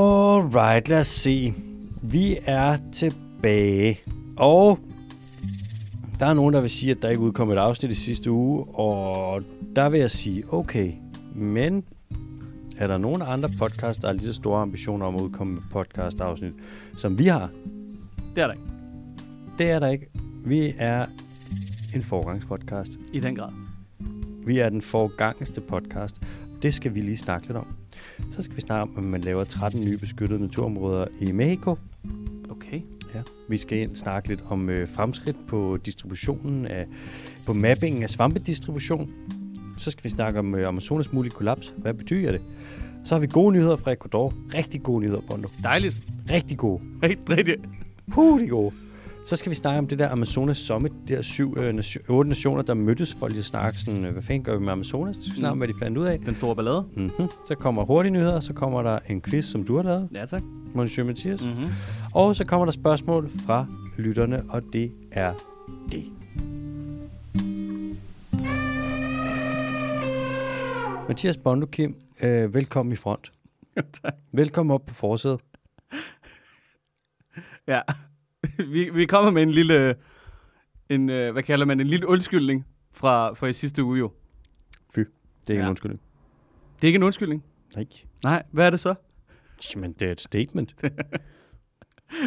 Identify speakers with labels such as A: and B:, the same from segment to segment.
A: Alright, lad os se. Vi er tilbage. Og der er nogen, der vil sige, at der ikke udkom et afsnit i sidste uge. Og der vil jeg sige, okay, men er der nogen andre podcasts, der har lige så store ambitioner om at udkomme med podcast-afsnit, som vi har?
B: Det er der ikke.
A: Det er der ikke. Vi er en forgangspodcast.
B: I den grad.
A: Vi er den forgangeste podcast. Det skal vi lige snakke lidt om. Så skal vi snakke om, at man laver 13 nye beskyttede naturområder i Mexico.
B: Okay.
A: Ja. Vi skal ind og snakke lidt om øh, fremskridt på distributionen af, på mappingen af svampedistribution. Så skal vi snakke om øh, Amazonas mulige kollaps. Hvad betyder det? Så har vi gode nyheder fra Ecuador. Rigtig gode nyheder, Bondo.
B: Dejligt.
A: Rigtig gode.
B: Rigtig, rigtig.
A: Puh, de er gode. Så skal vi snakke om det der Amazonas Summit, de der syv, øh, nation, otte nationer, der mødtes for lige at snakke sådan, øh, hvad fanden gør vi med Amazonas? Det skal vi snakke om, hvad de fandt ud af.
B: Den store ballade.
A: Mm-hmm. Så kommer hurtige nyheder, så kommer der en quiz, som du har lavet,
B: Ja, tak.
A: Monsieur Mathias. Mm.
B: Mm-hmm.
A: Og så kommer der spørgsmål fra lytterne, og det er det. Mathias Bondo Kim, øh, velkommen i front.
B: tak.
A: Velkommen op på forsædet.
B: Ja. vi, vi kommer med en lille, en, øh, hvad kalder man, en lille undskyldning fra, fra i sidste uge jo.
A: Fy, det er ikke ja.
B: Ja.
A: en undskyldning.
B: Det er ikke en undskyldning.
A: Nej.
B: Nej, hvad er det så?
A: Jamen, det er et statement.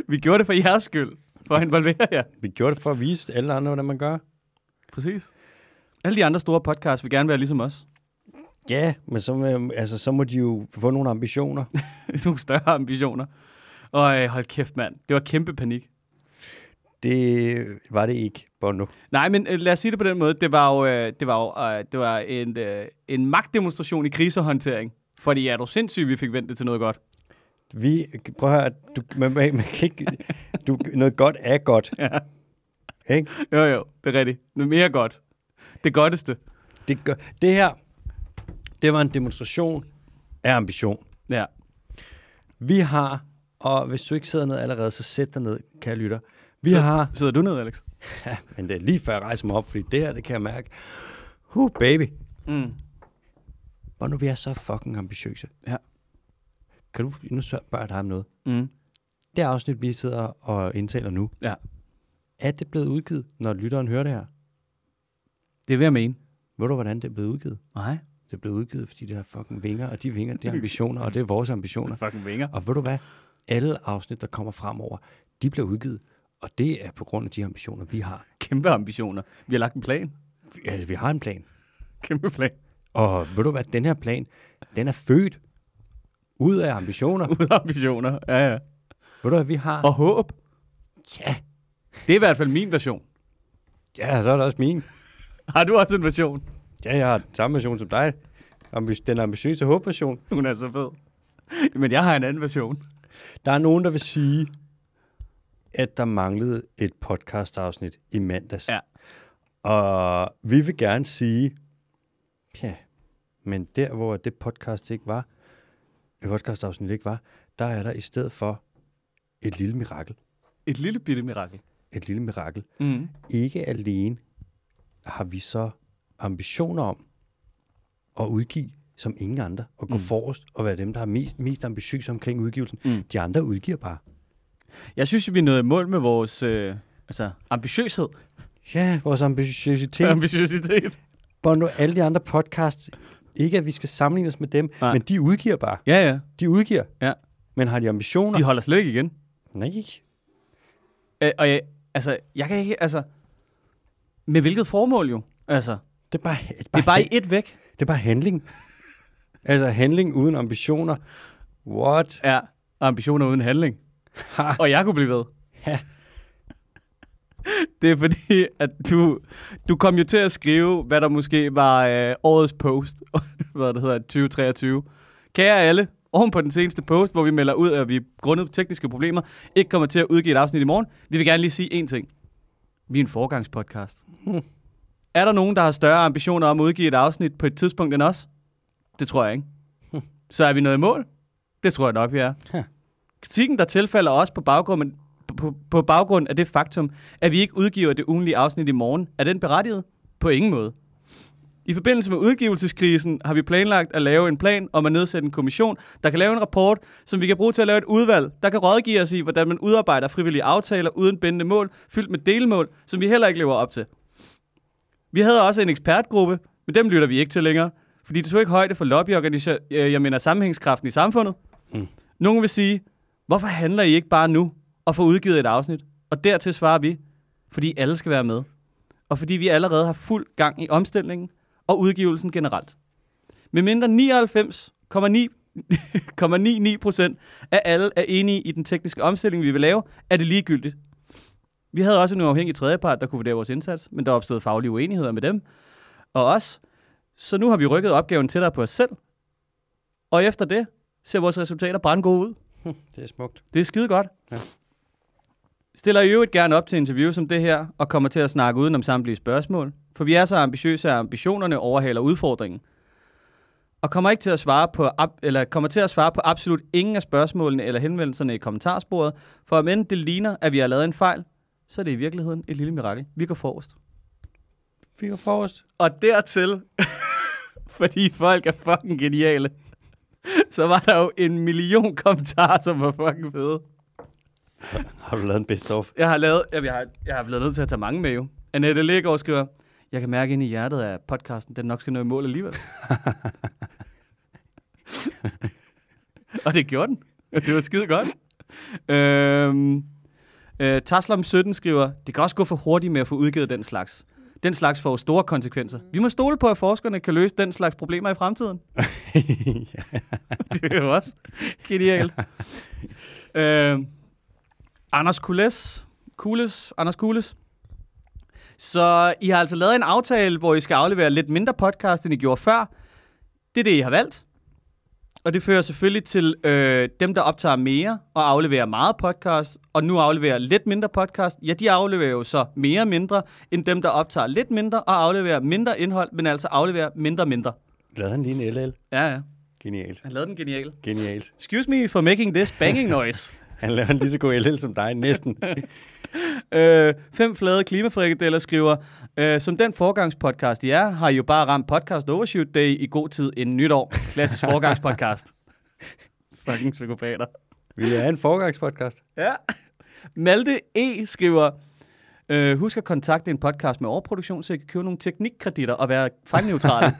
B: Vi gjorde det for jeres skyld. For at involvere jer.
A: Vi gjorde det for at vise alle andre, hvordan man gør.
B: Præcis. Alle de andre store podcasts vil gerne være ligesom os.
A: Ja, men så, øh, altså, så må de jo få nogle ambitioner.
B: Nogle større ambitioner. Og øh, hold kæft, mand. Det var kæmpe panik.
A: Det var det ikke, Bondo.
B: Nej, men øh, lad os sige det på den måde. Det var jo, øh, det var jo øh, det var en, øh, en magtdemonstration i krisehåndtering. Fordi er du sindssyg, vi fik vendt det til noget godt.
A: Vi, prøv at høre, du, man, man, man kan ikke, du, noget godt er godt. Ja. Ikke?
B: Jo, jo, det er rigtigt. Noget mere godt. Det godteste.
A: Det, gør, det her, det var en demonstration af ambition.
B: Ja.
A: Vi har, og hvis du ikke sidder ned allerede, så sæt dig ned, kære lytter. Vi
B: Så-
A: har,
B: Sidder du ned, Alex?
A: ja, men det er lige før jeg rejser mig op, fordi det her, det kan jeg mærke. Huh, baby.
B: Mm.
A: Hvor nu vi er så fucking ambitiøse.
B: Ja.
A: Kan du, nu spørger jeg dig om noget.
B: Mm.
A: Det afsnit, vi sidder og indtaler nu,
B: Ja.
A: er det blevet udgivet, når lytteren hører det her?
B: Det vil jeg mene.
A: Ved du, hvordan det er blevet udgivet?
B: Nej.
A: Det er blevet udgivet, fordi det har fucking vinger, og de vinger, det er ambitioner, og det er vores ambitioner.
B: Fucking vinger.
A: Og ved du hvad? Alle afsnit, der kommer fremover, de bliver udgivet, og det er på grund af de ambitioner, vi har.
B: Kæmpe ambitioner. Vi har lagt en plan.
A: Vi, altså, vi har en plan.
B: Kæmpe plan.
A: Og ved du hvad? Den her plan, den er født ud af ambitioner.
B: Ud af ambitioner. Ja, ja.
A: ved du hvad vi har?
B: Og håb.
A: Ja,
B: Det er i hvert fald min version.
A: ja, så er det også min.
B: Har du også en version?
A: Ja, jeg har den samme version som dig. Ambi- Den ambitiøse håbversion.
B: Hun er så fed. Men jeg har en anden version.
A: Der er nogen, der vil sige, at der manglede et podcast-afsnit i mandags.
B: Ja.
A: Og vi vil gerne sige, ja, men der, hvor det podcast ikke var, et podcast-afsnit ikke var, der er der i stedet for et lille mirakel.
B: Et lille bitte mirakel.
A: Et lille mirakel.
B: Mm.
A: Ikke alene har vi så ambitioner om at udgive som ingen andre, og gå mm. forrest og være dem, der er mest, mest ambitiøse omkring udgivelsen. Mm. De andre udgiver bare.
B: Jeg synes, vi nåede i mål med vores øh, altså, ambitiøshed.
A: Ja, vores ambitiøsitet.
B: Ambitiøsitet.
A: Bono, alle de andre podcasts, ikke at vi skal sammenligne os med dem, Nej.
B: Nej.
A: men de udgiver bare.
B: Ja, ja.
A: De udgiver.
B: Ja.
A: Men har de ambitioner?
B: De holder slet ikke igen.
A: Nej.
B: Øh, og jeg, altså, jeg kan ikke, altså... Med hvilket formål jo? Altså,
A: Det er bare, det er
B: det
A: bare,
B: er bare i et væk.
A: det er bare handling. altså handling uden ambitioner. What?
B: Ja, og ambitioner uden handling.
A: Ha.
B: Og jeg kunne blive ved.
A: Ja.
B: Det er fordi, at du, du kom jo til at skrive, hvad der måske var øh, årets post, hvad det hedder, 2023. Kære alle, oven på den seneste post, hvor vi melder ud, at vi grundet tekniske problemer ikke kommer til at udgive et afsnit i morgen, vi vil gerne lige sige én ting. Vi er en foregangspodcast.
A: Hmm.
B: Er der nogen, der har større ambitioner om at udgive et afsnit på et tidspunkt end os? Det tror jeg ikke.
A: Hm.
B: Så er vi nået i mål? Det tror jeg nok, vi er. Kritikken, der tilfalder os på baggrund, på, på baggrund af det faktum, at vi ikke udgiver det ugenlige afsnit i morgen, er den berettiget? På ingen måde. I forbindelse med udgivelseskrisen har vi planlagt at lave en plan om at nedsætte en kommission, der kan lave en rapport, som vi kan bruge til at lave et udvalg, der kan rådgive os i, hvordan man udarbejder frivillige aftaler uden bindende mål, fyldt med delmål, som vi heller ikke lever op til. Vi havde også en ekspertgruppe, men dem lytter vi ikke til længere, fordi det tog ikke højde for lobbyorganisationer, øh, jeg mener sammenhængskraften i samfundet.
A: Mm.
B: Mm. Nogen vil sige, hvorfor handler I ikke bare nu og får udgivet et afsnit? Og dertil svarer vi, fordi alle skal være med. Og fordi vi allerede har fuld gang i omstillingen og udgivelsen generelt. Med mindre 99,99 procent af alle er enige i den tekniske omstilling, vi vil lave, er det ligegyldigt. Vi havde også en uafhængig tredjepart, der kunne vurdere vores indsats, men der opstod faglige uenigheder med dem og os. Så nu har vi rykket opgaven tættere på os selv, og efter det ser vores resultater brandgode ud.
A: Hm, Det er smukt.
B: Det er skide godt.
A: Ja.
B: Ja. Stiller i øvrigt gerne op til interview som det her, og kommer til at snakke udenom samtlige spørgsmål. For vi er så ambitiøse, at ambitionerne overhaler udfordringen. Og kommer, ikke til at svare på, ab- eller kommer til at svare på absolut ingen af spørgsmålene eller henvendelserne i kommentarsporet, for om end det ligner, at vi har lavet en fejl, så er det i virkeligheden et lille mirakel. Vi går forrest.
A: Vi går forrest.
B: Og dertil, fordi folk er fucking geniale, så var der jo en million kommentarer, som var fucking fede.
A: Har du lavet en best of?
B: Jeg har lavet, jamen, jeg har, jeg har blevet nødt til at tage mange med jo. Annette Legaard skriver, jeg kan mærke ind i hjertet af podcasten, den nok skal nå i mål alligevel. og det gjorde den. Det var skide godt. Øhm, øh, Taslam17 skriver, det kan også gå for hurtigt med at få udgivet den slags. Den slags får jo store konsekvenser. Vi må stole på, at forskerne kan løse den slags problemer i fremtiden. det er jo også genialt. øhm, Anders Kules. Kules. Anders Kules. Så I har altså lavet en aftale, hvor I skal aflevere lidt mindre podcast, end I gjorde før. Det er det, I har valgt. Og det fører selvfølgelig til øh, dem, der optager mere og afleverer meget podcast, og nu afleverer lidt mindre podcast. Ja, de afleverer jo så mere og mindre, end dem, der optager lidt mindre og afleverer mindre indhold, men altså afleverer mindre og mindre.
A: Lavede han lige en LL?
B: Ja, ja.
A: Genialt.
B: Han lavede den genial.
A: Genialt.
B: Excuse me for making this banging noise.
A: Han laver en lige så god LL som dig, næsten.
B: Øh, fem flade klimafrikadeller skriver, øh, som den forgangspodcast, I er, har I jo bare ramt podcast overshoot day i god tid inden nytår. Klassisk forgangspodcast. Fucking psykopater.
A: Vi er en forgangspodcast.
B: Ja. Malte E. skriver, øh, husk at kontakte en podcast med overproduktion, så I kan købe nogle teknikkreditter og være fejlneutrale.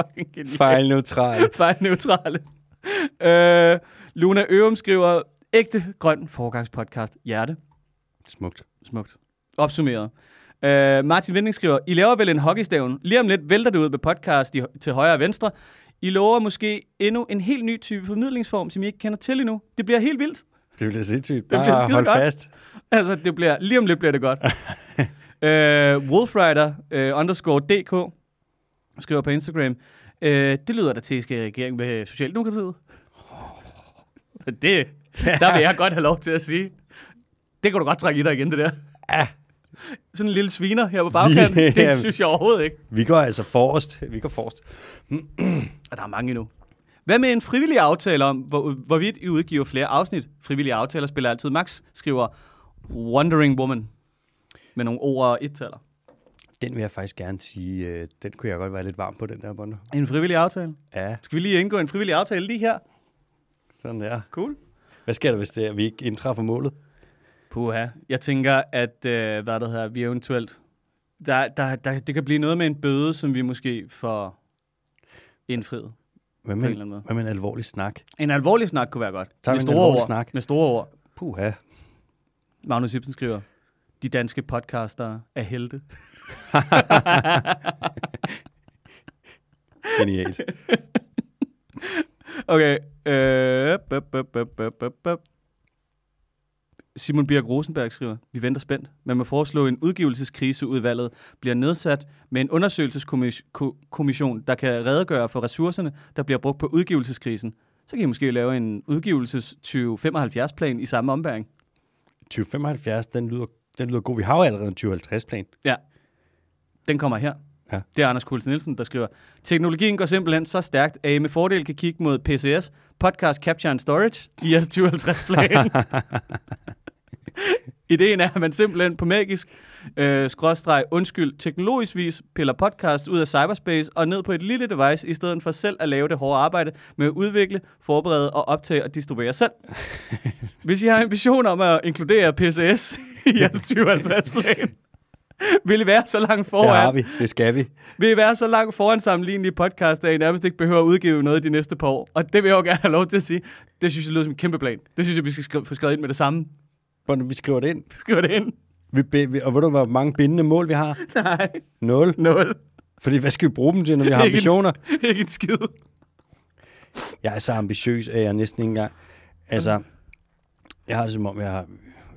B: Fucking genialt.
A: Fejlneutral.
B: Fejlneutrale. Øh, Luna Ørum skriver, ægte grøn forgangspodcast. Hjerte.
A: Smukt.
B: Smukt. Opsummeret. Øh, Martin Vinding skriver, I laver vel en hockeystaven. Lige om lidt vælter det ud med podcast i, til højre og venstre. I lover måske endnu en helt ny type formidlingsform, som I ikke kender til endnu. Det bliver helt vildt.
A: Det bliver sindssygt.
B: bliver
A: Bare
B: skide
A: hold
B: godt.
A: fast.
B: Altså, det bliver, lige om lidt bliver det godt. øh, Wolfrider øh, underscore DK skriver på Instagram, øh, det lyder da til, at I skal i regering med Socialdemokratiet. Det, der vil jeg godt have lov til at sige. Det kan du godt trække i dig igen, det der.
A: Ja.
B: Sådan en lille sviner her på bagkanten, det
A: Jamen.
B: synes jeg overhovedet ikke.
A: Vi går altså forrest. Vi går forrest.
B: Og der er mange endnu. Hvad med en frivillig aftale om, hvor, hvorvidt I udgiver flere afsnit? Frivillige aftaler spiller altid max, skriver Wandering Woman. Med nogle ord og et-taller.
A: Den vil jeg faktisk gerne sige, øh, den kunne jeg godt være lidt varm på, den der bonde.
B: En frivillig aftale.
A: Ja,
B: Skal vi lige indgå en frivillig aftale lige her?
A: sådan der.
B: Cool.
A: Hvad sker der, hvis det er, vi ikke indtræffer målet?
B: Puha. Jeg tænker, at øh, hvad det hedder, vi eventuelt... Der, der, der, det kan blive noget med en bøde, som vi måske får indfriet.
A: Hvad
B: På
A: med,
B: en eller anden måde.
A: hvad med en alvorlig snak?
B: En alvorlig snak kunne være godt.
A: Tager vi
B: med
A: en
B: store
A: alvorlig
B: ord.
A: snak?
B: Med store ord.
A: Puha.
B: Magnus Ibsen skriver, de danske podcaster er helte.
A: Genialt.
B: Okay. Øh, bup, bup, bup, bup, bup, bup. Simon Birk Rosenberg skriver, vi venter spændt, men må foreslå en udgivelseskriseudvalget bliver nedsat med en undersøgelseskommission, der kan redegøre for ressourcerne, der bliver brugt på udgivelseskrisen. Så kan I måske lave en udgivelses 2075-plan i samme ombæring.
A: 2075, den lyder, den lyder god. Vi har jo allerede en 2050-plan.
B: Den kommer her.
A: Ja.
B: Det er Anders Kuls Nielsen, der skriver, teknologien går simpelthen så stærkt, at I med fordel kan kigge mod PCS, Podcast Capture and Storage, i jeres 2050-plan. Ideen er, at man simpelthen på magisk øh, skråstreg, undskyld, teknologiskvis piller podcast ud af cyberspace og ned på et lille device, i stedet for selv at lave det hårde arbejde med at udvikle, forberede og optage og distribuere selv. Hvis I har ambitioner om at inkludere PCS i jeres 2050-plan, vil I være så langt
A: Det har
B: foran,
A: vi. Det skal vi.
B: vil I være så langt foran sammenlignelige podcast, at I nærmest ikke behøver at udgive noget de næste par år. Og det vil jeg jo gerne have lov til at sige. Det synes jeg lyder som en kæmpe plan. Det synes jeg, vi skal skri- få skrevet ind med det samme.
A: Hvordan Vi skriver det ind.
B: Skriv det ind.
A: Vi, be- vi, og ved du, hvor mange bindende mål vi har?
B: Nej.
A: Nul.
B: Nul.
A: Fordi hvad skal vi bruge dem til, når vi har
B: Ikke en-
A: ambitioner?
B: Ikke en skid.
A: Jeg er så ambitiøs, at jeg næsten ikke engang... Altså, jeg har det som om, jeg har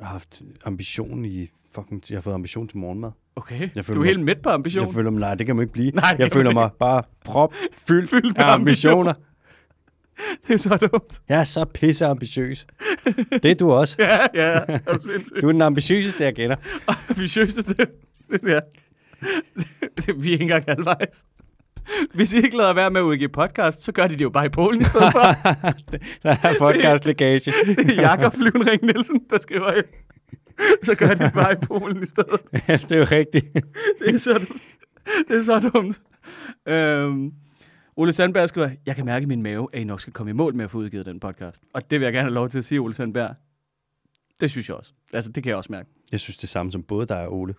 A: haft ambition i... Fucking, jeg har fået ambition til morgenmad.
B: Okay,
A: Jeg føler
B: du er
A: mig-
B: helt midt på ambition.
A: Jeg føler mig, nej, det kan man ikke blive.
B: Nej, det
A: jeg
B: kan
A: føler
B: man
A: mig bare prop fyldt,
B: Fyldt
A: fyldt
B: med
A: af ambitioner.
B: Det er så dumt.
A: Jeg er så pisse ambitiøs. Det er du også.
B: Ja, ja, er du sindssygt.
A: Du er den ambitiøseste, jeg kender.
B: Ambitiøse det. Ja. Det, vi er ikke engang halvvejs. Hvis I ikke lader være med at udgive podcast, så gør de det jo bare i Polen i stedet for.
A: Der er podcastlækage.
B: Det er Jakob Flyvenring Nielsen, der skriver ind. Så gør de bare i Polen i stedet.
A: det er jo rigtigt.
B: Det er så dumt. Det er så dumt. Øhm, Ole Sandberg skriver, jeg kan mærke i min mave, at I nok skal komme i mål med at få udgivet den podcast. Og det vil jeg gerne have lov til at sige, Ole Sandberg. Det synes jeg også. Altså, det kan jeg også mærke.
A: Jeg synes det er samme som både dig og Ole.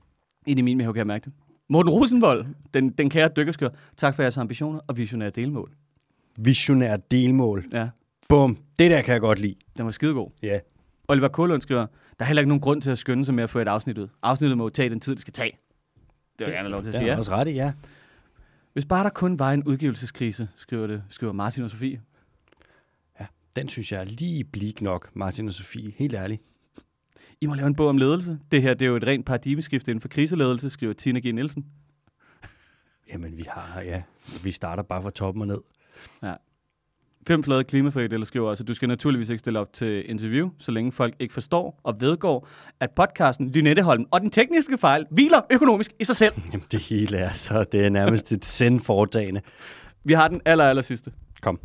B: Ind i min mave kan jeg mærke det. Morten Rosenvold, den, den kære dykkerskør. Tak for jeres ambitioner og visionære delmål.
A: Visionær delmål.
B: Ja,
A: Bum. Det der kan jeg godt lide.
B: den var skidegod.
A: Ja.
B: Oliver Kålund skriver, der er heller ikke nogen grund til at skynde sig med at få et afsnit ud. Afsnittet må jo tage den tid, det skal tage. Det vil jeg gerne have lov til at
A: Det er
B: sige, ja.
A: også ret i, ja.
B: Hvis bare der kun var en udgivelseskrise, skriver, det, skriver Martin og Sofie.
A: Den synes jeg er lige blik nok, Martin og Sofie. Helt ærligt.
B: I må lave en bog om ledelse. Det her det er jo et rent paradigmeskift inden for kriseledelse, skriver Tina G. Nielsen.
A: Jamen, vi har, ja. Vi starter bare fra toppen og ned.
B: Fem flade klimafrikadeller skriver også, at du skal naturligvis ikke stille op til interview, så længe folk ikke forstår og vedgår, at podcasten Lynetteholm og den tekniske fejl hviler økonomisk i sig selv.
A: Jamen, det hele er så. Det er nærmest et sendforetagende.
B: Vi har den aller, aller sidste.
A: Kom.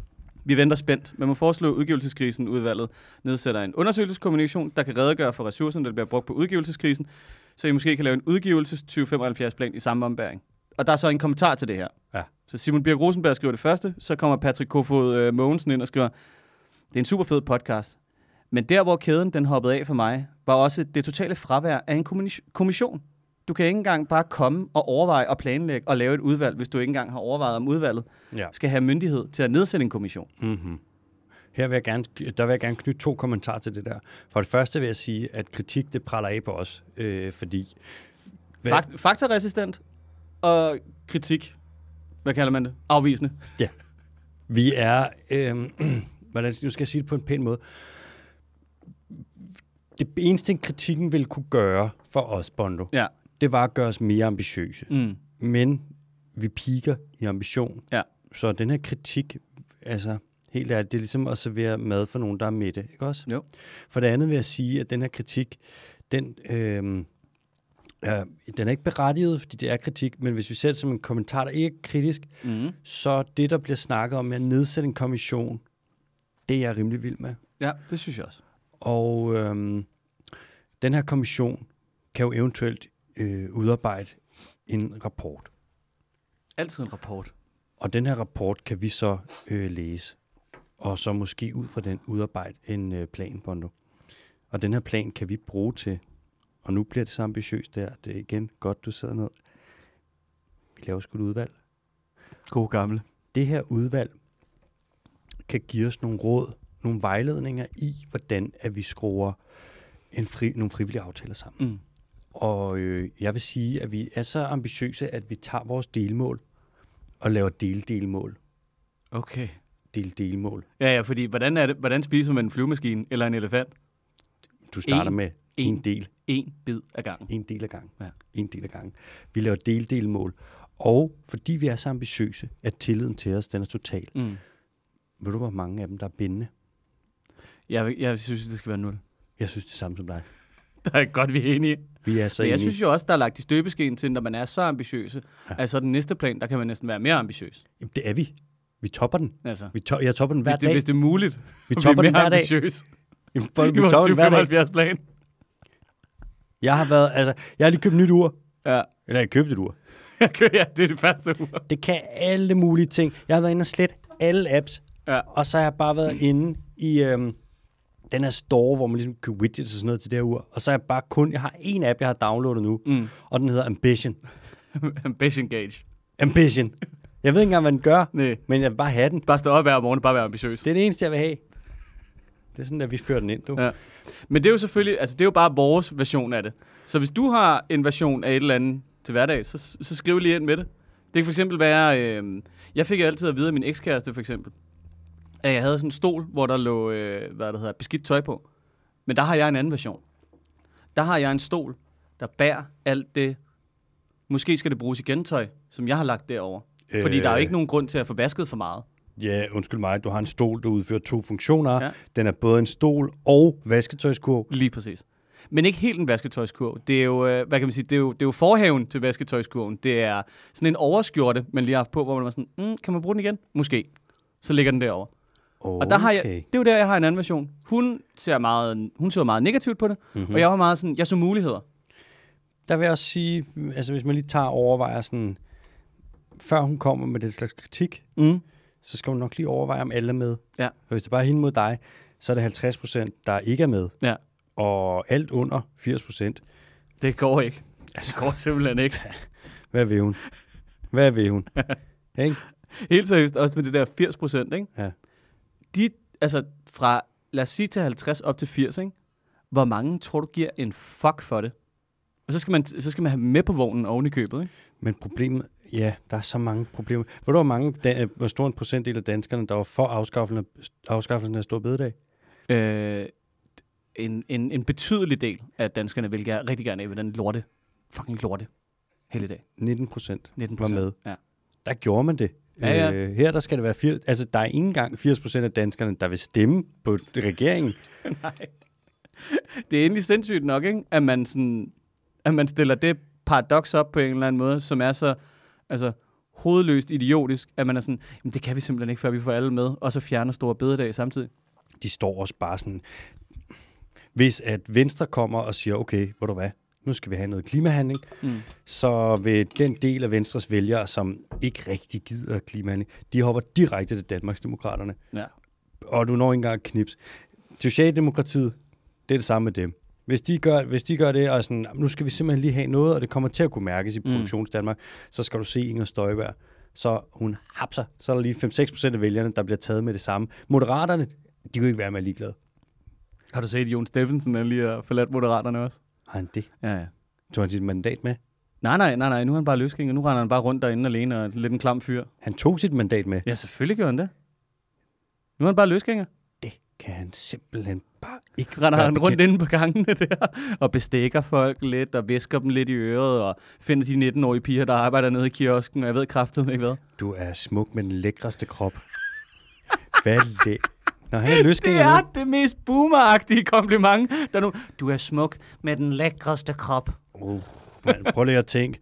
B: Vi venter spændt. Man må foreslå at udgivelseskrisen udvalget nedsætter en undersøgelseskommunikation, der kan redegøre for ressourcerne, der bliver brugt på udgivelseskrisen, så I måske kan lave en udgivelses 2075-plan i samme ombæring. Og der er så en kommentar til det her.
A: Ja.
B: Så Simon Birk Rosenberg skriver det første, så kommer Patrick Kofod øh, Mogensen ind og skriver, det er en super fed podcast. Men der, hvor kæden den hoppede af for mig, var også det totale fravær af en kommunis- kommission. Du kan ikke engang bare komme og overveje og planlægge og lave et udvalg, hvis du ikke engang har overvejet om udvalget
A: Ja.
B: skal have myndighed til at nedsætte en kommission.
A: Mm-hmm. Her vil jeg gerne, der vil jeg gerne knytte to kommentarer til det der. For det første vil jeg sige, at kritik det praller af på os, øh, fordi... Hvad-
B: Fakt, faktaresistent og kritik. Hvad kalder man det? Afvisende.
A: Vi er, øh, hvordan, nu skal jeg sige det på en pæn måde. Det eneste kritikken ville kunne gøre for os, Bondo,
B: Ja.
A: det var at gøre os mere ambitiøse.
B: Mm.
A: Men vi piker i ambition.
B: Ja.
A: Så den her kritik, altså helt ærligt, det er ligesom at servere mad for nogen, der er mætte, ikke også?
B: Jo.
A: For det andet vil jeg sige, at den her kritik, den, øh, er, den er ikke berettiget, fordi det er kritik, men hvis vi ser det som en kommentar, der ikke er kritisk,
B: Mm.
A: så det, der bliver snakket om med at nedsætte en kommission, det er jeg rimelig vild med.
B: Ja, det synes jeg også.
A: Og øhm, den her kommission kan jo eventuelt øh, udarbejde en rapport.
B: Altid en rapport.
A: Og den her rapport kan vi så øh, læse, og så måske ud fra den udarbejde en øh, plan, Bondo. Og den her plan kan vi bruge til, og nu bliver det så ambitiøst der, det er igen godt, du sidder ned. Vi laver sgu et udvalg.
B: God gamle.
A: det her udvalg kan give os nogle råd, nogle vejledninger i, hvordan at vi skruer en fri, nogle frivillige aftaler sammen.
B: Mm.
A: Og øh, jeg vil sige, at vi er så ambitiøse, at vi tager vores delmål og laver del-delmål.
B: Okay.
A: Del-delmål.
B: Ja, ja, fordi hvordan, er det, hvordan spiser man en flyvemaskine eller en elefant?
A: Du starter
B: En-
A: med en del,
B: En bid ad gangen.
A: en del af gangen.
B: Ja.
A: En del af gangen. Vi laver del-delmål. Og fordi vi er så ambitiøse, at tilliden til os, den er total.
B: Mm.
A: Ved du, hvor mange af dem, der er bindende?
B: Jeg, vil- jeg synes, det skal være nul.
A: Jeg synes det samme som dig.
B: Der er godt, vi er enige.
A: Vi er så
B: Men jeg
A: enige.
B: synes jo også, der er lagt i støbeskeen til, når man er så ambitiøse.
A: Ja.
B: Ja. Altså den næste plan, der kan man næsten være mere ambitiøs.
A: Jamen, det er vi. Vi topper den.
B: Altså,
A: Vi to- jeg topper den hver
B: hvis, det,
A: dag.
B: hvis det er muligt.
A: Vi
B: at blive
A: topper den
B: mere
A: hver dag.
B: ambitiøs.
A: Jamen, for-
B: I
A: Vi topper den hver dag.
B: vores 2075-plan.
A: Jeg har været, altså, jeg har lige købt nyt ur.
B: Ja.
A: Eller jeg købte et ur.
B: ja, det er det første ur.
A: Det kan alle mulige ting. Jeg har været inde og slet alle apps,
B: Ja.
A: og så har jeg bare været inde i øhm, den her store, hvor man ligesom kan widgets og sådan noget til det her ur. Og så er jeg bare kun, jeg har en app, jeg har downloadet nu, mm. og den hedder Ambition.
B: Ambition gauge.
A: Ambition. Jeg ved ikke engang, hvad den gør,
B: Nej.
A: men jeg vil bare have den.
B: Bare stå op hver morgen og bare være ambitiøs.
A: Det er det eneste, jeg vil have. Det er sådan, at vi fører den ind, du. Ja.
B: Ja. Men det er jo selvfølgelig, altså det er jo bare vores version af det. Så hvis du har en version af et eller andet til hverdag, så, så skriv lige ind med det. Det kan for eksempel være, øh, jeg fik altid at vide af min ekskæreste for eksempel, at jeg havde sådan en stol, hvor der lå, øh, hvad det hedder, beskidt tøj på. Men der har jeg en anden version. Der har jeg en stol, der bærer alt det, måske skal det bruges i gentøj, som jeg har lagt derover. Øh. Fordi
A: Øh.
B: der er jo ikke nogen grund til at få vasket for meget.
A: ja, undskyld mig, du har en stol, der udfører to funktioner. Ja.
B: Ja.
A: Den er både en stol og vasketøjskurv.
B: Lige præcis. Men ikke helt en vasketøjskurv. Det er jo, øh, hvad kan man sige, det er jo, det er jo forhaven til vasketøjskurven. Det er sådan en overskjorte, man lige har haft på, hvor man er sådan, mm, kan man bruge den igen? Måske. Så ligger den derovre.
A: Okay.
B: Og der har jeg, det er jo der, jeg har en anden version. Hun ser meget, hun så meget negativt på det, mm-hmm. og jeg var meget sådan, jeg så muligheder.
A: der vil jeg også sige, altså hvis man lige tager og overvejer sådan, før hun kommer med den slags kritik,
B: Mm.
A: så skal hun nok lige overveje, om alle er med.
B: Ja.
A: For hvis det bare er hende mod dig, så er det 50 procent, der ikke er med.
B: Ja,
A: Og alt under 80 procent.
B: det går ikke. Altså, det går simpelthen ikke.
A: Hvad vil hun? Hvad vil hun? Ikke?
B: Helt seriøst, også med det der 80 procent, ikke?
A: Ja.
B: De, altså fra, lad os sige til 50 op til 80, ikke? Hvor mange tror du giver en fuck for det? Og så skal man, så skal man have dem med på vognen oven i købet, ikke?
A: Men problemet, ja, der er så mange problemer. Ved du, hvor, mange, da, hvor stor en procentdel af danskerne, der var for afskaffelsen af, afskaffelsen af Stor Bededag?
B: Øh, en, en, en betydelig del af danskerne vil gerne, rigtig gerne af ved den lorte, fucking lorte, hele dag.
A: 19 procent
B: 19
A: var med.
B: Ja.
A: Der gjorde man det.
B: Ja, ja.
A: Øh, her der skal det være 80, altså der er ikke engang 80 procent af danskerne, der vil stemme på regeringen.
B: Det er endelig sindssygt nok, ikke? At man, sådan, at man stiller det paradoks op på en eller anden måde, som er så altså, hovedløst idiotisk, at man er sådan, Jamen, det kan vi simpelthen ikke, før vi får alle med, og så fjerner store bededag samtidig.
A: De står også bare sådan, hvis at Venstre kommer og siger, okay, hvor du hvad, nu skal vi have noget klimahandling, mm. så vil den del af Venstres vælgere, som ikke rigtig gider klimahandling, de hopper direkte til Danmarksdemokraterne.
B: Ja.
A: og du når ikke engang knips. Socialdemokratiet, det er det samme med dem. Hvis de gør, hvis de gør det, og sådan, "Jamen, nu skal vi simpelthen lige have noget, og det kommer til at kunne
B: Mm.
A: mærkes i produktionsdanmark, så skal du se Inger Støjberg. Så hun hapser. Så er der lige 5-6 procent af vælgerne, der bliver taget med det samme. Moderaterne, de kunne ikke være med ligeglade.
B: Har du set, at Jon Steffensen er lige har forladt Moderaterne også?
A: Har han det?
B: Ja, ja.
A: Tog han sit mandat med?
B: Nej, nej, nej, nej. Nu er han bare løsgænger. Nu render han bare rundt derinde alene og er lidt en klam fyr.
A: Han tog sit mandat med.
B: Ja, selvfølgelig gør han det. Nu er han bare løsgænger.
A: Det kan han simpelthen bare ikke
B: Render
A: være
B: han rundt
A: bekendt.
B: inde på gangene der, og bestikker folk lidt, og visker dem lidt i øret, og finder de 19-årige piger, der arbejder nede i kiosken, og jeg ved kraftigt ikke hvad.
A: Du er smuk med den lækreste krop. Hvad er det? Når han er
B: Det
A: løsgænger nu-
B: er det mest boomeragtige kompliment. Der nu, du er smuk med den lækreste krop.
A: Uh, man, prøv lige at tænke.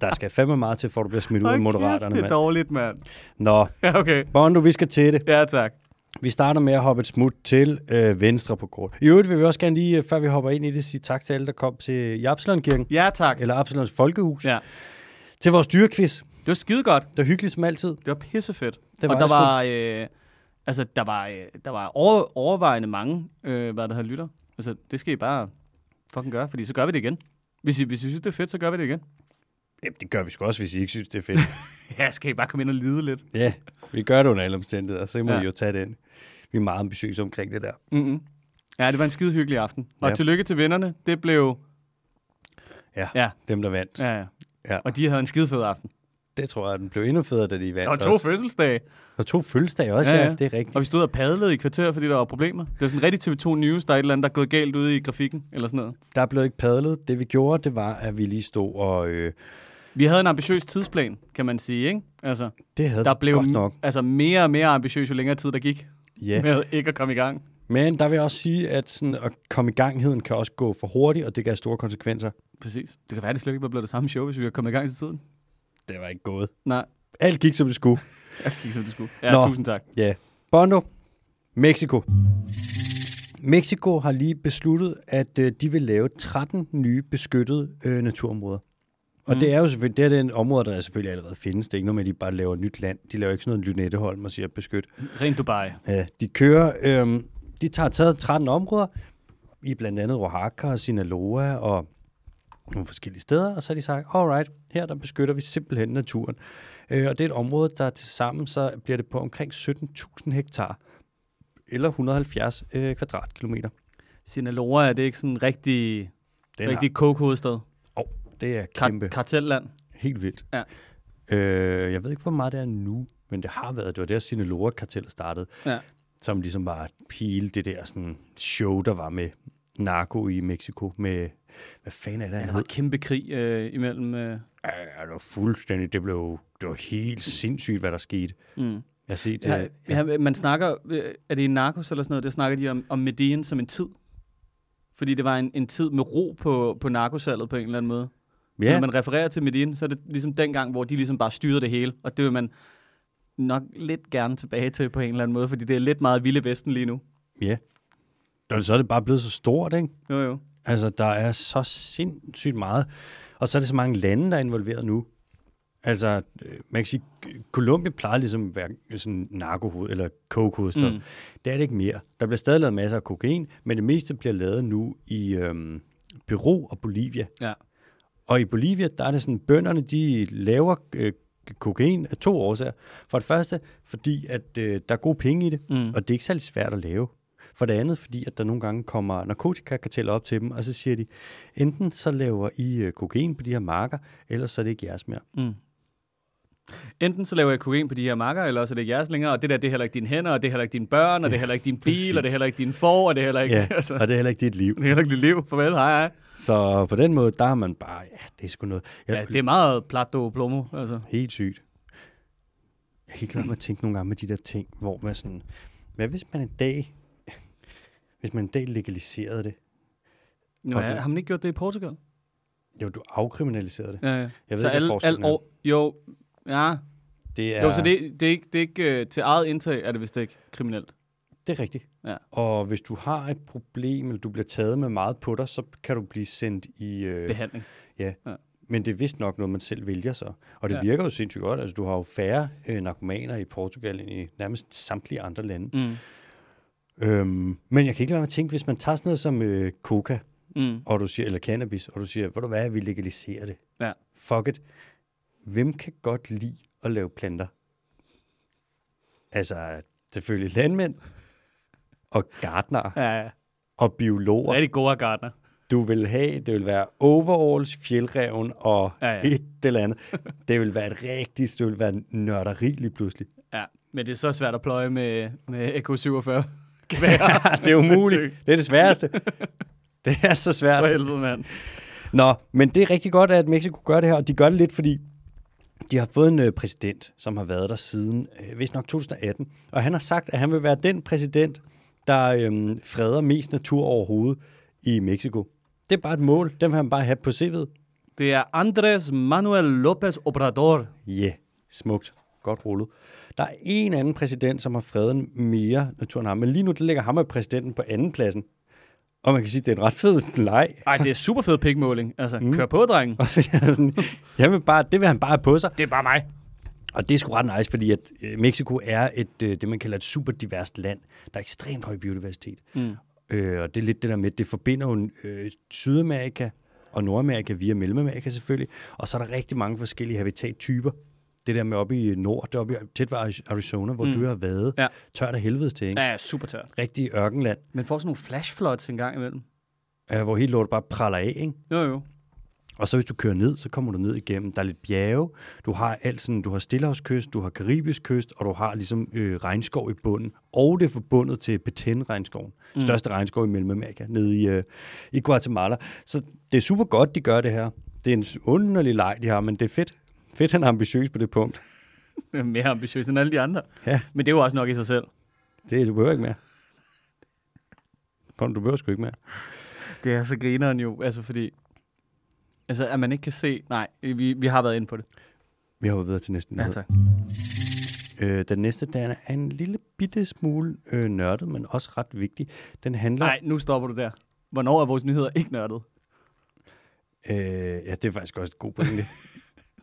A: Der skal fandme meget til, for at du bliver smidt ud af moderaterne,
B: det er
A: mand.
B: dårligt, mand.
A: Nå,
B: Ja, okay.
A: Bondo, vi skal til det.
B: Ja, tak.
A: Vi starter med at hoppe et smut til øh, venstre på kort. I øvrigt vil vi også gerne lige, øh, før vi hopper ind i det, sige tak til alle, der kom til i Absalonkirken,
B: Ja, tak.
A: eller Absalons Folkehus,
B: Ja.
A: til vores dyrekvist.
B: Det var skide godt.
A: Det var hyggeligt som altid.
B: Det var pissefedt.
A: Det var
B: Det var og
A: det
B: der
A: sgu.
B: var, øh, altså, der var, øh, der var over, overvejende mange, øh, hvad der her lytter. Altså, det skal I bare fucking gøre, fordi så gør vi det igen. Hvis I, hvis I synes, det er fedt, så gør vi det igen.
A: Jamen, det gør vi sgu også, hvis I ikke synes, det er fedt.
B: Ja, skal I bare komme ind og lide lidt.
A: ja, vi gør det under alle omstændigheder, så må ja.
B: Ja.
A: I jo tage det ind. Vi er meget ambitiøse omkring det der.
B: Mm-hmm. Ja, det var en skide hyggelig aften. Og
A: Ja.
B: ja. tillykke til vinderne. Det blev...
A: Ja,
B: Ja.
A: dem der vandt.
B: Ja, ja.
A: Ja.
B: Og de havde en skide fed aften.
A: Det tror jeg, den blev endnu federe, da de vandt
B: Der var to
A: også.
B: fødselsdage.
A: Og to fødselsdage også, ja,
B: Ja,
A: ja.
B: ja.
A: det er rigtigt.
B: Og vi stod og padlede i kvarter, fordi der var problemer. Det var sådan rigtig TV2 News, der er et eller andet, der er gået galt ude i grafikken, eller sådan noget.
A: Der blev ikke padlet. Det vi gjorde, det var, at vi lige stod og... Øh,
B: Vi havde en ambitiøs tidsplan, kan man sige, ikke? Altså,
A: det havde
B: Der
A: vi
B: blev
A: godt nok.
B: altså mere og mere ambitiøs, jo længere tid der gik
A: Ja.
B: med ikke at komme i gang.
A: Men der vil jeg også sige, at sådan at komme i gangheden kan også gå for hurtigt, og det kan have store konsekvenser.
B: Præcis. Det kan være, det slet ikke var blevet det samme show, hvis vi var kommet i gang til tiden.
A: Det var ikke gået.
B: Nej,
A: Alt gik, som det skulle.
B: jeg gik som det skulle. Ja,
A: Nå.
B: Nå. tusind tak.
A: Ja. Bondo, Mexico. Mexico har lige besluttet, at øh, de vil lave 13 nye beskyttede øh, naturområder. Og mm. det er jo selvfølgelig, det er den område, der selvfølgelig allerede findes. Det er ikke noget med, at de bare laver nyt land. De laver ikke sådan noget Lynetteholm og siger beskyt.
B: Rent Dubai.
A: Øh, de kører, øh, de tager taget 13 områder, i blandt andet Oaxaca og Sinaloa og nogle forskellige steder, og så har de sagt, alright, her der beskytter vi simpelthen naturen. Øh, og det er et område, der til sammen så bliver det på omkring 17.000 hektar, eller 170 øh, kvadratkilometer.
B: Sinaloa er det ikke sådan en rigtig,
A: Den
B: rigtig coke-hovedstad.
A: har, oh, det er kæmpe,
B: Kar- kartelland.
A: helt vildt.
B: Ja.
A: Øh, jeg ved ikke, hvor meget det er nu, men det har været, det var der Sinaloa-kartellet startede,
B: Ja.
A: som ligesom var hele det der sådan show, der var med narko i Mexico, med, hvad fanden er det, han
B: Der
A: hed?
B: var kæmpe krig øh, imellem. Øh.
A: Ja, det var fuldstændig, det blev, det var helt sindssygt, hvad der skete.
B: Mm.
A: Jeg har set,
B: Ja,
A: øh,
B: ja, man snakker, øh, er det en narkos eller sådan noget, der snakker de om, om Medellin som en tid. Fordi det var en, en tid med ro på, på narkosalget på en eller anden måde. Ja. Når
A: ja,
B: man refererer til Medellin, så er det ligesom dengang, hvor de ligesom bare styrede det hele. Og det vil man nok lidt gerne tilbage til på en eller anden måde, fordi det er lidt meget Vilde Vesten lige nu.
A: ja. Og så er det bare blevet så stort, ikke?
B: Jo, jo.
A: Altså, der er så sindssygt meget. Og så er det så mange lande, der er involveret nu. Altså, øh, man kan sige, Colombia plejer ligesom at være sådan narkohoved, eller coke mm.
B: Mm.
A: Det er det ikke mere. Der bliver stadig lavet masser af kokain, men det meste bliver lavet nu i øhm, Peru og Bolivia.
B: Ja.
A: Og i Bolivia, der er det sådan, bønderne, de laver øh, kokain af to årsager. For det første, fordi at øh, der er gode penge i det,
B: Mm.
A: og det er ikke særlig svært at lave. For det andet, fordi at der nogle gange kommer narkotikakarteller op til dem, og så siger de, enten så laver I øh, kokain på de her marker, eller så er det ikke jeres mere.
B: Mm. Enten så laver jeg kokain på de her marker, eller også er det jeres længere, og det der, det er heller ikke dine hænder, og det er heller ikke dine børn, og det er heller ikke din bil, og det er heller ikke din for, og det er heller ikke,
A: Ja,
B: ja. altså,
A: og det er heller ikke dit liv.
B: det er heller ikke dit liv. Farvel, hej, hej.
A: Så på den måde, der er man bare, ja, det er sgu noget. Jeg,
B: Ja, det er meget plato plomo, altså.
A: Helt sygt. Jeg kan ikke lade mig at tænke nogle gange med de der ting, hvor man sådan, hvad hvis man en dag, hvis man en dag legaliserede det?
B: Nu,
A: Og
B: ja,
A: det-
B: har man ikke gjort det i Portugal?
A: Jo, du afkriminaliserede det.
B: Ja, ja.
A: Jeg ved
B: så
A: ikke, hvad forskellen er.
B: år, jo, ja.
A: Det
B: ja.
A: er,
B: Jo, så det, det er ikke, det er ikke øh, til eget indtag, er det vist ikke kriminelt.
A: det er rigtigt.
B: Ja.
A: Og hvis du har et problem, eller du bliver taget med meget på dig, så kan du blive sendt i... Øh,
B: Behandling.
A: men det er vist nok noget, man selv vælger så. Og det
B: Ja.
A: ja. virker jo sindssygt godt. Altså, du har jo færre øh, narkomaner i Portugal end i nærmest samtlige andre lande.
B: Mm.
A: Øhm, men jeg kan ikke lade mig at tænke, hvis man tager sådan noget som øh, coca,
B: Mm.
A: og du siger, eller cannabis, og du siger, ved du hvad, vi legaliserer det.
B: Ja.
A: Fuck it. Hvem kan godt lide at lave planter? Altså, selvfølgelig landmænd, og gartnere,
B: Ja, ja.
A: og biologer.
B: Rigtig gode gardner.
A: Du vil have, det vil være overalls, fjeldreven og
B: Ja,
A: ja,
B: ja.
A: ja. et eller andet. Det vil være et rigtigt, det vil være en nørderi lige pludselig.
B: Ja, men det er så svært at pløje med, med Echo 47.
A: det er umuligt. Det er det sværeste. Det er så svært.
B: For helvede, mand.
A: Nå, men det er rigtig godt, at Mexico gør det her, og de gør det lidt, fordi de har fået en øh, præsident, som har været der siden, øh, hvis nok 2018, og han har sagt, at han vil være den præsident, der øh, freder mest natur overhovedet i Mexico. Det er bare et mål, den vil han bare have på CV'et.
B: Det er Andres Manuel López Obrador.
A: Ja, yeah. smukt. Godt rullet. Der er en anden præsident, som har fredet mere natur end ham, men lige nu der ligger ham og præsidenten på andenpladsen. Og man kan sige, at det er en ret fed leg.
B: Ej, det er super fed pikmåling. Altså, mm. kør på, drengen.
A: Og jeg er sådan, jeg vil bare, det vil han bare have på sig.
B: Det er bare mig.
A: Og det er sgu ret nice, fordi at øh, Mexico er et, øh, det, man kalder et super diverst land. Der er ekstremt høj biodiversitet. Mm. Øh, og det er lidt det der med, at det forbinder jo øh, Sydamerika og Nordamerika via Mellemamerika selvfølgelig. Og så er der rigtig mange forskellige habitattyper. Det der med oppe i nord, deroppe i, tæt ved Ari- Arizona, hvor mm. du har været.
B: Ja.
A: Tørt af helvedes til, ikke? Ja.
B: Ja, ja, super tør.
A: Rigtig ørkenland,
B: Men får sådan nogle flash floods en gang imellem.
A: øh, hvor helt lort bare praller af, ikke?
B: Jo, jo.
A: Og så hvis du kører ned, så kommer du ned igennem. Der er lidt bjerge. Du har alt sådan, du har Stillehavskyst, du har Karibisk kyst, og du har ligesom øh, regnskov i bunden. Og det er forbundet til Petén-regnskoven. Mm. Største regnskov i Mellemamerika, nede i, øh, i Guatemala. Så det er super godt, de gør det her. Det er en underlig leg, de har, men det er fedt. Fedt, han er ambitiøs på det punkt.
B: Det er Mere ambitiøs end alle de andre.
A: Ja.
B: Men det er jo også nok i sig selv.
A: Det, du behøver ikke mere. Kom, du behøver sgu ikke mere.
B: Det er så grineren jo, altså fordi... Altså, at man ikke kan se... Nej, vi, vi har været inde på det.
A: Vi hopper videre til næste nyhed.
B: tak.
A: Øh, den næste, den er en lille bitte smule øh, nørdet, men også ret vigtig. Den handler
B: Nej, nu stopper du der. Hvornår er vores nyheder ikke nørdet?
A: Øh, ja, det er faktisk også et god pointe.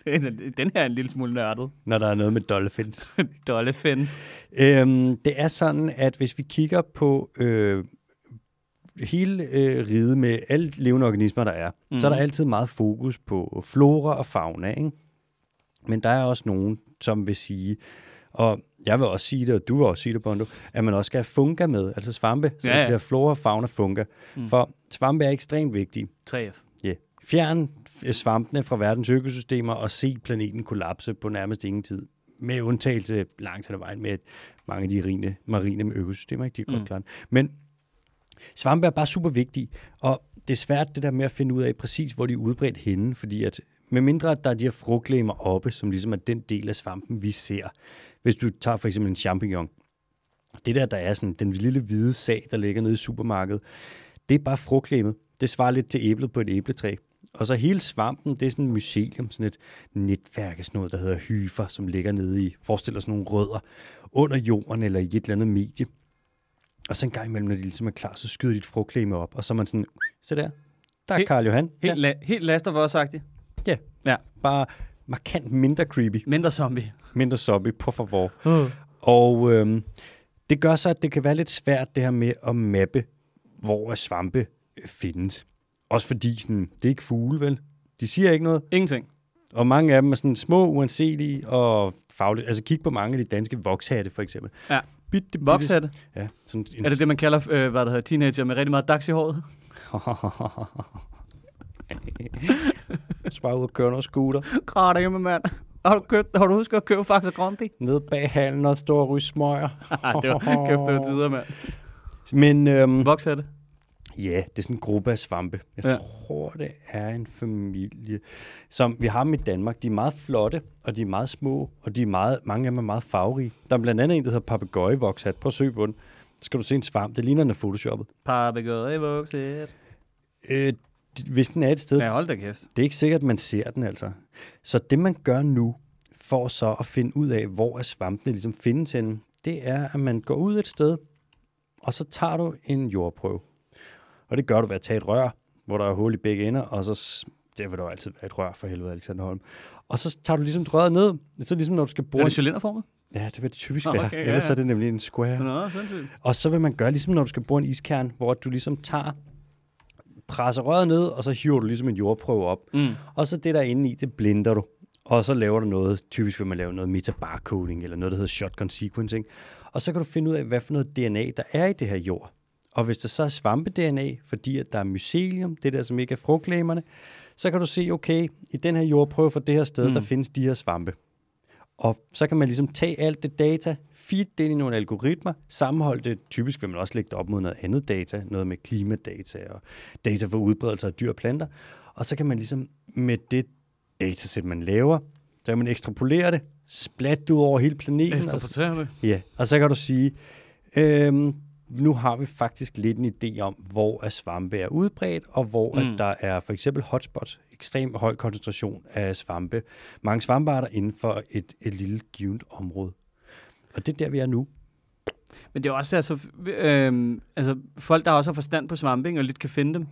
B: Den her er en lille smule nørdet.
A: når der er noget med dolphins.
B: Dollefins.
A: Øhm, det er sådan, at hvis vi kigger på øh, hele øh, riget med alle levende organismer, der er, mm.
B: Mhm.
A: så er der altid meget fokus på flora og fauna. Ikke? Men der er også nogen, som vil sige, og jeg vil også sige det, og du vil også sige det, Bondo, at man også skal have funga med, altså svampe, så
B: Ja,
A: ja, ja.
B: ja.
A: det bliver flora, fauna, funga. Mm. For svampe er ekstremt vigtige.
B: 3F.
A: Yeah. Fjern øh, svampene fra verdens økosystemer og se planeten kollapse på nærmest ingen tid. Med undtagelse langt hen ad vejen med, at mange af de rine, marine med økosystemer, ikke, de er godt mm. klart. Men svampe er bare super vigtige, og det er svært det der med at finde ud af præcis, hvor de er udbredt henne, fordi at medmindre at der er de her frugtlemer oppe, som ligesom er den del af svampen, vi ser. Hvis du tager for eksempel en champignon, det der, der er sådan, den lille hvide sag, der ligger nede i supermarkedet, det er bare frugtlemmet. Det svarer lidt til æblet på et æbletræ. Og så hele svampen, det er sådan et mycelium, sådan et netværk af sådan noget, der hedder hyfer, som ligger nede i, forestiller sådan nogle rødder, under jorden eller i et eller andet medie. Og så en gang imellem, når de ligesom er klar, så skyder de et frugtleme op, og så er man sådan, se der, der er
B: Helt-
A: Karl Johan.
B: Helt, ja. la- helt last of us -agtig.
A: Ja,
B: Ja.
A: bare markant mindre creepy,
B: Mindre zombie.
A: mindre zombie, på favor.
B: Uh.
A: Og øhm, det gør så, at det kan være lidt svært det her med at mappe, hvor er svampe øh, findes. Også fordi sådan, det er ikke fugle, vel? De siger ikke noget,
B: Ingenting.
A: og mange af dem er sådan små, uanselige og faglige. Altså kig på mange af de danske vokshatte, for eksempel.
B: Ja.
A: Bitte, bitte-
B: Vokshatte.
A: Ja, sådan en
B: Er det det, man kalder, øh, hvad der hedder, teenager med rigtig meget dags i håret?
A: Så bare ud og køre noget scooter.
B: Krater hjemme, mand. Har du, købt, har du husket at købe Faxe Grandi?
A: Ned bag halen og stå og ryge smøger.
B: Ah, det var kæft, det var tider, mand.
A: Men øhm,
B: Vokshatte.
A: Ja, det er sådan en gruppe af svampe. Jeg
B: Ja.
A: ja. tror, det er en familie, som vi har med i Danmark. De er meget flotte, og de er meget små, og de er meget, mange af dem er meget farverige. Der er blandt andet en, der hedder papegøjevokshat. Prøv at søge på den. Så skal du se en svamp. Det ligner, den er photoshoppet.
B: Papagøje i vokset.
A: Øh, d- hvis den er et sted,
B: Ja, hold da kæft.
A: det er ikke sikkert, at man ser den altså. Så det, man gør nu, for så at finde ud af, hvor er svampene ligesom findes henne, det er, at man går ud et sted, og så tager du en jordprøve. Og det gør du ved at tage et rør, hvor der er hul i begge ender, og så, s- der vil der jo altid være et rør for helvede, Alexander Holm. Og så tager du ligesom røret ned, så ligesom når du skal
B: Er
A: bruge...
B: det cylinderformet?
A: Ja, det vil det typisk
B: Nå,
A: være.
B: okay, ja,
A: Ellers
B: ja.
A: er det nemlig en square.
B: Nå, sindssygt.
A: Og så vil man gøre, ligesom når du skal bruge en iskern, hvor du ligesom tager, presser røret ned, og så hiver du ligesom en jordprøve op. Mm. Og så det der er inde i, det blinder du. Og så laver du noget, typisk vil man lave noget metabarcoding, eller noget, der hedder shotgun sequencing. Og så kan du finde ud af, hvad for noget DNA, der er i det her jord. Og hvis der så er svampe-DNA, fordi at der er mycelium, det der, som ikke er frugtlæmerne, så kan du se, okay, i den her jordprøve fra det her sted, mm. der findes de her svampe. Og så kan man ligesom tage alt det data, feed det ind i nogle algoritmer, sammenholde det. Typisk vil man også lægge det op mod noget andet data, noget med klimadata og data for udbredelse af dyr og planter. Og så kan man ligesom med det datasæt, man laver, så kan man ekstrapolere det, splatte det ud over hele planeten. og så-
B: Ekstraporterer det.
A: Ja, og så kan du sige, øhm, nu har vi faktisk lidt en idé om, hvor at svampe er udbredt, og hvor mm. at der er for eksempel hotspots, ekstrem høj koncentration af svampe. Mange svampearter inden for et, et lille givet område. Og det er der, vi er nu.
B: Men det er også altså, øh, altså folk, der også har forstand på svamping og lidt kan finde dem,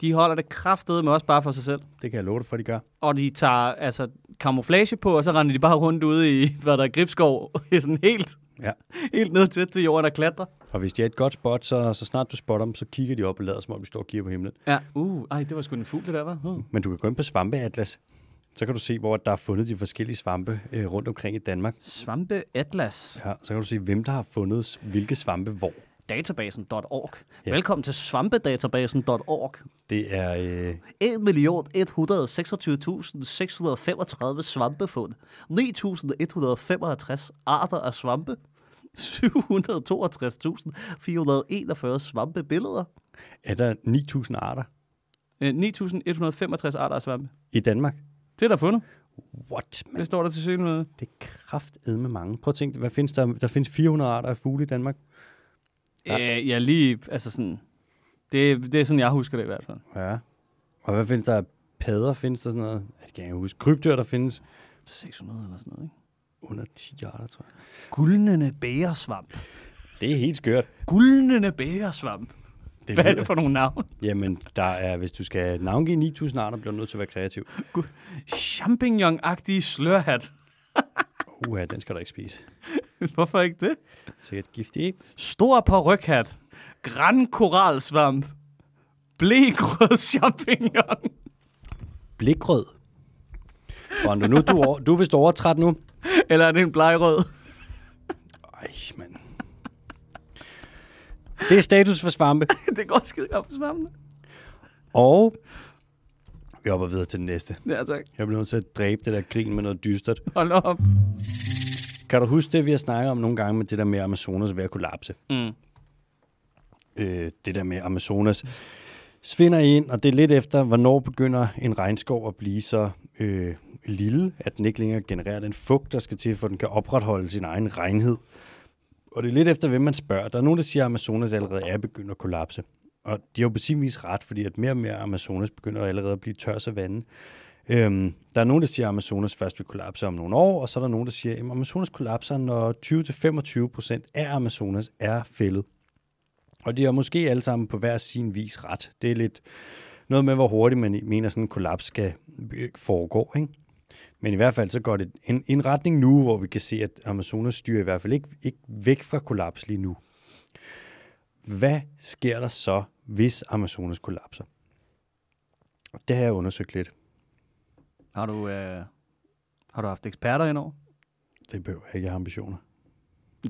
B: de holder det kraftede med også bare for sig selv.
A: Det kan jeg love dig for, de gør.
B: Og de tager altså camouflage på, og så render de bare rundt ude i, hvad der er, gribskov, i sådan helt,
A: Ja.
B: helt ned tæt til jorden og klatrer.
A: Og hvis de er et godt spot, så, så snart du spotter dem, så kigger de op og lader, som om de står og kigger på himlen.
B: Ja. Uh, ej, det var sgu en fugl, det der, var. Uh.
A: Men du kan gå ind på Svampeatlas. Så kan du se, hvor der er fundet de forskellige svampe øh, rundt omkring i Danmark.
B: Svampe Atlas.
A: Ja, så kan du se, hvem der har fundet s- hvilke svampe hvor.
B: Databasen.org.
A: Ja.
B: Ja. Velkommen til svampedatabasen.org.
A: Det er... Øh,
B: 1.126.635 svampefund, 9.155 arter af svampe, 762.441 svampebilleder.
A: er der 9.000 arter
B: Øh, 9.165 arter af svampe.
A: i Danmark.
B: Det er der fundet.
A: What? Man,
B: Det står der til synligheden.
A: det er kraftet med mange. Prøv at tænke, hvad findes der? Der findes 400 arter af fugle i Danmark.
B: Ja. Øh, ja, lige, altså sådan, det, det er sådan, jeg husker det i hvert fald.
A: Ja. Og hvad findes der? af Padder findes der sådan noget? Ja, Det kan jeg ikke huske. Krybdyr, der findes
B: 600 eller sådan noget, ikke?
A: under 10 arter, tror jeg.
B: Guldnende bæresvamp.
A: Det er helt skørt.
B: Guldnende bæresvamp.
A: Det
B: Hvad er
A: lyder-
B: det for nogle navne?
A: Jamen, der er, hvis du skal navngive 9.000 arter, bliver du nødt til at være kreativ.
B: Champignon-agtige slørhat.
A: Uha, den skal du ikke spise.
B: Hvorfor ikke det?
A: Sikkert giftig, ikke?
B: Stor parrykhat. Gran koralsvamp. Blegrød champignon.
A: Blikrød. Rondo, nu er du, over, du er vist overtræt nu.
B: Eller er det en blegrød?
A: Ej, mand. Det er status for svampe.
B: det går skide godt på svampene.
A: Og vi hopper videre til den næste.
B: Ja, tak.
A: Jeg bliver nødt til at dræbe det der grin med noget dystert.
B: Hold nu op.
A: Kan du huske det, vi har snakket om nogle gange med det der med Amazonas ved at kollapse?
B: Mm.
A: Øh, det der med Amazonas svinder ind, og det er lidt efter, hvornår begynder en regnskov at blive så øh, lille, at den ikke længere genererer den fugt, der skal til, for at den kan opretholde sin egen renhed. Og det er lidt efter, hvem man spørger. Der er nogen, der siger, at Amazonas allerede er begyndt at kollapse. Og de har jo på sin vis ret, fordi at mere og mere Amazonas begynder allerede at blive tør savanne. Øhm, der er nogen, der siger, at Amazonas først vil kollapse om nogle år, og så er der nogen, der siger, at Amazonas kollapser, når 20-25 procent af Amazonas er fældet. Og de er måske alle sammen på hver sin vis ret. Det er lidt noget med, hvor hurtigt man mener, sådan en kollaps skal øh, foregå. Ikke? Men i hvert fald så går det en, en retning nu, hvor vi kan se, at Amazonas styrer i hvert fald ikke, ikke væk fra kollaps lige nu. Hvad sker der så, hvis Amazonas kollapser? Og Det har jeg undersøgt lidt.
B: Har du, øh, har du haft eksperter indover?
A: Det behøver jeg ikke have ambitioner.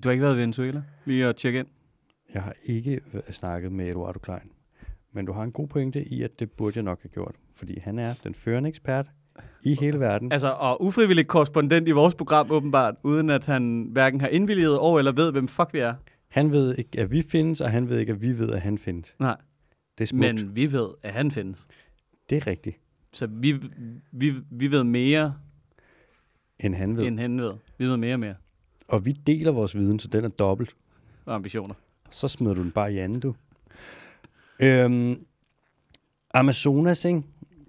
B: Du har ikke været i Venezuela? Lige at tjekke ind.
A: Jeg har ikke øh, snakket med Eduardo Klein. Men du har en god pointe i, at det burde jeg nok have gjort. Fordi han er den førende ekspert i hele verden.
B: Altså, og ufrivillig korrespondent i vores program åbenbart, uden at han hverken har indvilliget over eller ved, hvem fuck vi er.
A: Han ved ikke, at vi findes, og han ved ikke, at vi ved, at han findes.
B: Nej,
A: Det er smukt. Men...
B: men vi ved, at han findes.
A: Det er rigtigt,
B: Så vi, vi, vi ved mere,
A: end han ved.
B: end han ved. Vi ved mere og mere
A: Og vi deler vores viden, så den er dobbelt.
B: og ambitioner.
A: Så smider du den bare i anden, du. Øhm, Amazonas, ikke?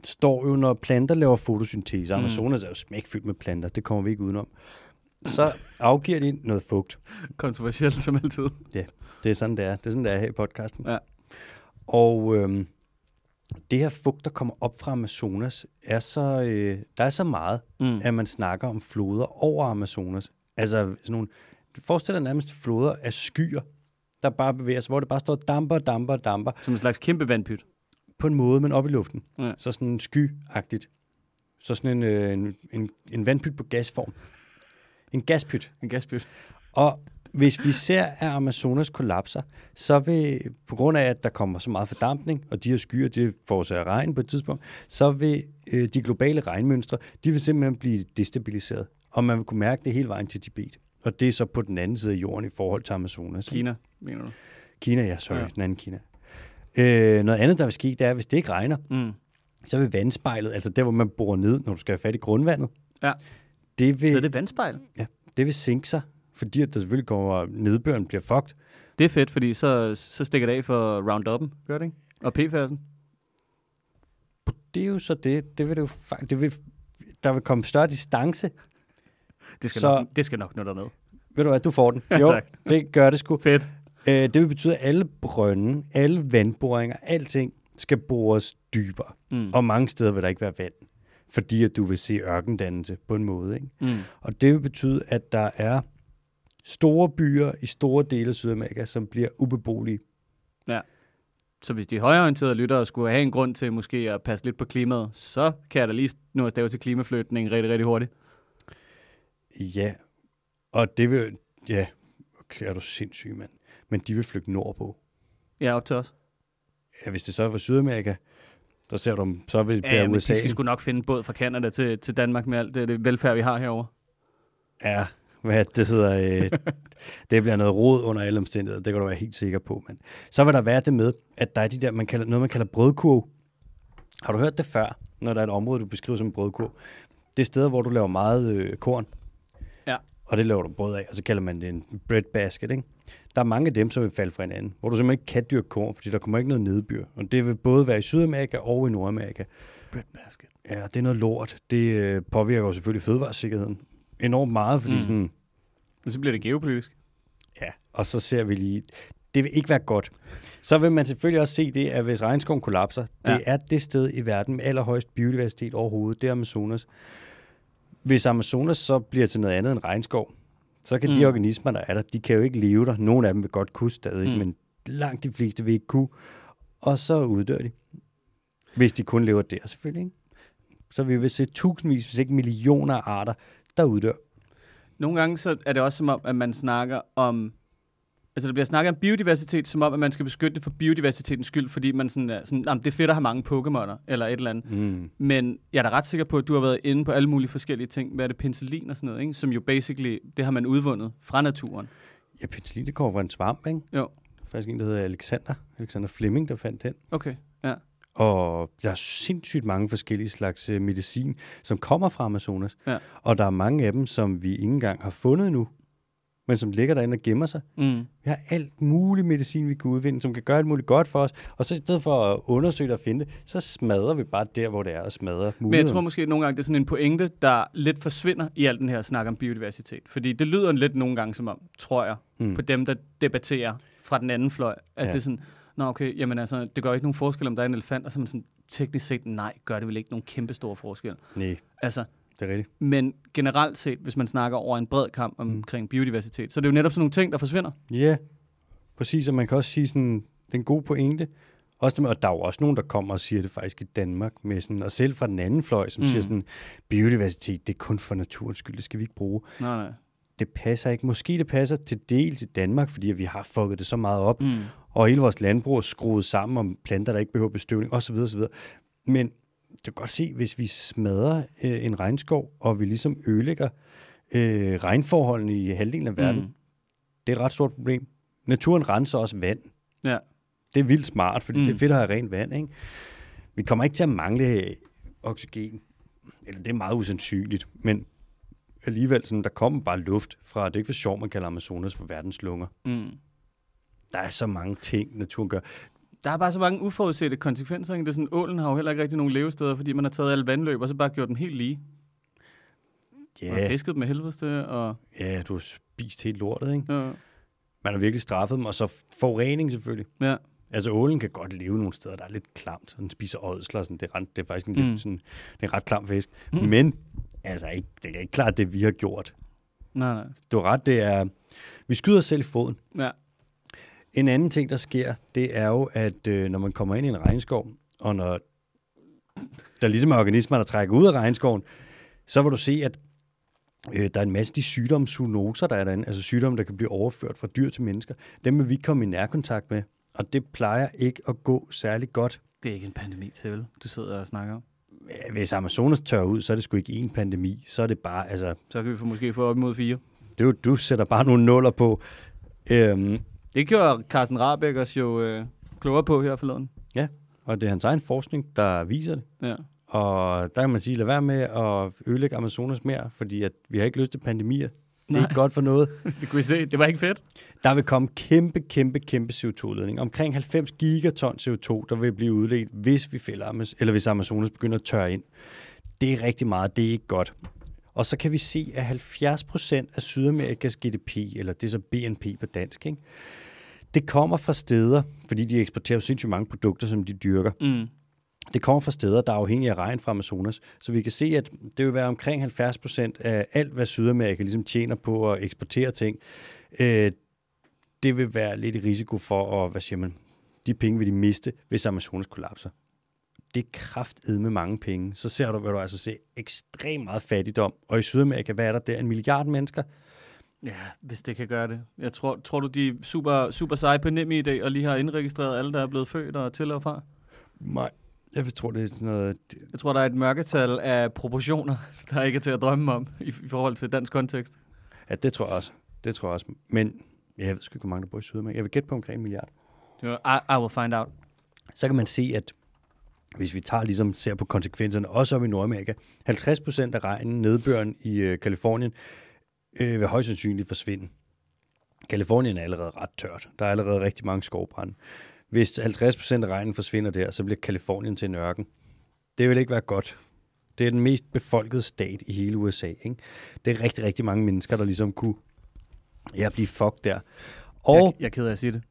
A: står jo, når planter laver fotosyntese. Amazonas er jo smækfyldt med planter, det kommer vi ikke udenom. Så afgiver de noget fugt.
B: Kontroversielt som altid.
A: Ja, det er sådan, det er. Det er sådan, det er her i podcasten.
B: Ja.
A: Og øhm, det her fugt, der kommer op fra Amazonas, er så, øh, der er så meget, mm. at man snakker om floder over Amazonas. Altså sådan nogle, forestil dig nærmest floder af skyer, der bare bevæger sig, hvor det bare står damper, damper, damper,
B: Som en slags kæmpe vandpyt.
A: på en måde, men op i luften.
B: Ja.
A: Så sådan skyagtigt. Så sådan en, øh, en, en, en vandpyt på gasform. En gaspyt.
B: En gaspyt.
A: Og hvis vi ser, at Amazonas kollapser, så vil, på grund af, at der kommer så meget fordampning, og de her skyer, de forårsager regn på et tidspunkt, så vil øh, de globale regnmønstre, de vil simpelthen blive destabiliseret. Og man vil kunne mærke det hele vejen til Tibet. Og det er så på den anden side af jorden i forhold til Amazonas. ikke?
B: Kina, mener du?
A: Kina, ja, sorry,
B: Ja.
A: ja. den anden Kina. Øh, noget andet, der vil ske, det er, at hvis det ikke regner,
B: Mm.
A: så vil vandspejlet, altså der, hvor man borer ned, når du skal have fat i grundvandet,
B: Ja.
A: det
B: Det er
A: vil,
B: det vandspejl.
A: ja, det vil sænke sig, fordi at der selvfølgelig kommer, nedbøren bliver fucked,
B: Det er fedt, fordi så, så stikker det af for Roundup'en, gør det ikke? Og PFAS'en.
A: Det er jo så det. Det vil det jo fakt- det vil, der vil komme større distance.
B: Det skal,
A: Så-
B: nok, det skal nok nå derned.
A: Ved du hvad, du får den.
B: Ja,
A: Jo,
B: tak.
A: det gør det sgu.
B: Fedt.
A: Øh, det vil betyde, at alle brønde, alle vandboringer, alting skal bores dybere.
B: Mm.
A: Og mange steder vil der ikke være vand, fordi at du vil se ørkendannelse på en måde. Ikke?
B: Mm.
A: Og det vil betyde, at der er store byer i store dele af Sydamerika, som bliver ubeboelige.
B: Så hvis de højreorienterede lyttere skulle have en grund til måske at passe lidt på klimaet, så kan jeg da lige nå at stave til klimaflytning rigtig, rigtig hurtigt.
A: Ja, og det vil... Ja, okay, er du sindssyg, mand. Men de vil flygte nordpå.
B: Ja, op til os.
A: Ja, hvis det så var Sydamerika, så ser du, om- så vil det
B: Ja,
A: ja,
B: men de
A: USA.
B: skal sgu nok finde båd fra Kanada til, til Danmark med alt det, det velfærd, vi har herover.
A: Ja, hvad det hedder, øh, det bliver noget rod under alle omstændigheder, det kan du være helt sikker på, mand. Så vil der være det med, at der er de der, man kalder, noget man kalder brødkurv. Har du hørt det før, når der er et område, du beskriver som en brødkurv? Det er steder, hvor du laver meget øh, korn,
B: Ja.
A: og det laver du brød af, og så kalder man det en bread basket, ikke? Der er mange af dem, som vil falde fra hinanden, hvor du simpelthen ikke kan dyrke korn, fordi der kommer ikke noget nedbyr. Og det vil både være i Sydamerika og i Nordamerika.
B: Bread basket.
A: Ja, det er noget lort. Det øh, påvirker jo selvfølgelig fødevaresikkerheden enormt meget, fordi mm. sådan,
B: Og så bliver det geopolitisk.
A: ja, og så ser vi lige, Det vil ikke være godt. Så vil man selvfølgelig også se det, at hvis regnskoven kollapser, det
B: Ja.
A: er det sted i verden med allerhøjst biodiversitet overhovedet, det er Amazonas. Hvis Amazonas så bliver til noget andet end regnskov, så kan mm. de organismer, der er der, de kan jo ikke leve der. Nogle af dem vil godt kunne stadig, mm. men langt de fleste vil ikke kunne. Og så uddør de. Hvis de kun lever der, selvfølgelig. Ikke? Så vi vil se tusindvis, hvis ikke millioner af arter, der uddør.
B: Nogle gange så er det også som om, at man snakker om... Altså, der bliver snakket om biodiversitet, som om, at man skal beskytte det for biodiversitetens skyld, fordi man sådan er sådan, "Jamen, det er fedt at have mange Pokémoner, eller et eller andet.
A: Mm.
B: Men jeg er da ret sikker på, at du har været inde på alle mulige forskellige ting. Hvad er det, penicillin og sådan noget, ikke? Som jo basically, det har man udvundet fra naturen.
A: Ja, penicillin, det kommer fra en svamp, ikke?
B: Jo,
A: Der er faktisk en, der hedder Alexander. Alexander Fleming, der fandt den.
B: okay, ja.
A: Og der er sindssygt mange forskellige slags øh, medicin, som kommer fra Amazonas.
B: Ja.
A: Og der er mange af dem, som vi ikke engang har fundet nu, men som ligger derinde og gemmer sig.
B: Mm.
A: Vi har alt muligt medicin, vi kan udvinde, som kan gøre alt muligt godt for os. Og så i stedet for at undersøge det og finde det, så smadrer vi bare der, hvor det er, og smadrer
B: Men jeg
A: muligheden.
B: tror måske, at nogle gange, det er sådan en pointe, der lidt forsvinder i al den her snak om biodiversitet. Fordi det lyder lidt nogle gange som om, tror jeg,
A: Mm.
B: mm. på dem, der debatterer fra den anden fløj, at
A: Ja.
B: ja. det er sådan, nå okay, jamen altså, det gør ikke nogen forskel, om der er en elefant, og så er man sådan, teknisk set, nej, gør det vel ikke nogen kæmpe store forskel.
A: Nej,
B: Altså,
A: det er rigtigt.
B: men generelt set, hvis man snakker over en bred kamp omkring mm. biodiversitet, så er det jo netop sådan nogle ting, der forsvinder.
A: Ja, præcis. Og man kan også sige sådan, den gode pointe. Også, det med- og der er jo også nogen, der kommer og siger det faktisk i Danmark, med sådan, og selv fra den anden fløj, som mm.
B: Mm.
A: siger sådan, biodiversitet, det er kun for naturens skyld, det skal vi ikke bruge.
B: Nej, nej.
A: Det passer ikke. Måske det passer til del til Danmark, fordi at vi har fucket det så meget op,
B: Mm.
A: og hele vores landbrug er skruet sammen om planter, der ikke behøver bestøvning osv. osv. Men du kan godt se, hvis vi smadrer øh, en regnskov, og vi ligesom ødelægger øh, regnforholdene i halvdelen af verden, mm.
B: Mm.
A: det er et ret stort problem. Naturen renser også vand.
B: Ja.
A: Det er vildt smart, fordi mm. det er
B: Mm.
A: fedt at have rent vand. Ikke? Vi kommer ikke til at mangle øh, oxygen. Eller det er meget usandsynligt, men alligevel, sådan, der kommer bare luft fra, det er ikke for sjovt, man kalder Amazonas for verdens lunger.
B: Mm.
A: Der er så mange ting, naturen gør.
B: Der er bare så mange uforudsete konsekvenser. Ikke? Det er sådan, ålen har jo heller ikke rigtig nogen levesteder, fordi man har taget alle vandløb, og så bare gjort dem helt lige.
A: Ja,
B: Yeah. Og fisket dem med helvedes til, og...
A: ja, du har spist helt lortet, ikke?
B: Ja,
A: Man har virkelig straffet dem, og så forurening selvfølgelig.
B: ja.
A: Altså, ålen kan godt leve nogle steder, der er lidt klamt, så den spiser ådsler, og sådan, det, er, ret- det er faktisk en,
B: Mm.
A: lidt, sådan, det er en ret klam fisk.
B: Mm.
A: Mm. Men, altså, ikke, det er ikke klart, det vi har gjort.
B: Nej, nej.
A: Du har ret, det er, vi skyder os selv i foden.
B: Ja.
A: En anden ting, der sker, det er jo, at øh, når man kommer ind i en regnskov, og når der ligesom er organismer, der trækker ud af regnskoven, så vil du se, at øh, der er en masse af de sygdomme, zoonoser, der er derinde, altså sygdomme, der kan blive overført fra dyr til mennesker, dem vil vi ikke komme i nærkontakt med, og det plejer ikke at gå særlig godt.
B: Det er ikke en pandemi til, vel? Du sidder og snakker om.
A: Hvis Amazonas tør ud, så er det sgu ikke én pandemi, så er det bare, altså,
B: Så kan vi få, måske få op imod fire.
A: det er jo, du sætter bare nogle nuller på. Øhm,
B: Det gjorde Carsten Rabeck os jo øh, klogere på her forleden.
A: og det er hans egen forskning, der viser det.
B: Ja.
A: Og der kan man sige, lad være med at ødelægge Amazonas mere, fordi at vi har ikke lyst til pandemier. Det er
B: Nej.
A: ikke godt for noget.
B: det kunne vi se. Det var ikke fedt.
A: Der vil komme kæmpe, kæmpe, kæmpe CO2-udledning. Omkring 90 gigaton CO2, der vil blive udledt, hvis vi fælder Amaz- eller hvis Amazonas begynder at tørre ind. Det er rigtig meget, det er ikke godt. Og så kan vi se, at 70 procent af Sydamerikas GDP, eller det er så BNP på dansk, ikke? det kommer fra steder, fordi de eksporterer jo sindssygt mange produkter, som de dyrker.
B: Mm.
A: Det kommer fra steder, der er afhængige af regn fra Amazonas. Så vi kan se, at det vil være omkring 70 procent af alt, hvad Sydamerika ligesom tjener på at eksportere ting. Øh, det vil være lidt i risiko for, at, hvad siger man, de penge vil de miste, hvis Amazonas kollapser. Det er kraftet med mange penge. Så ser du, hvad du altså se, ekstremt meget fattigdom. Og i Sydamerika, hvad er der der? En milliard mennesker?
B: Ja, hvis det kan gøre det. Jeg tror, tror du, de er super, super seje på nem i dag, og lige har indregistreret alle, der er blevet født og til og fra?
A: Nej. Jeg tror, det er sådan noget...
B: Jeg tror, der er et mørketal af proportioner, der ikke er til at drømme om i, i forhold til dansk kontekst.
A: Ja, det tror jeg også. Det tror jeg også. Men ja, jeg ved sgu ikke, hvor mange der bor i Sydamerika. Jeg vil gætte på omkring en milliard.
B: Ja, I, I will find out.
A: så kan man se, at hvis vi tager ligesom ser på konsekvenserne, også om i Nordamerika, 50 procent af regnen, nedbøren i øh, Kalifornien, øh, vil højst sandsynligt forsvinde. Kalifornien er allerede ret tørt. Der er allerede rigtig mange skovbrænde. Hvis 50 procent af regnen forsvinder der, så bliver Kalifornien til en ørken. Det vil ikke være godt. Det er den mest befolkede stat i hele USA. Ikke? Det er rigtig, rigtig mange mennesker, der ligesom kunne ja, blive fucked der. Og
B: Jeg, jeg er ked af at sige det.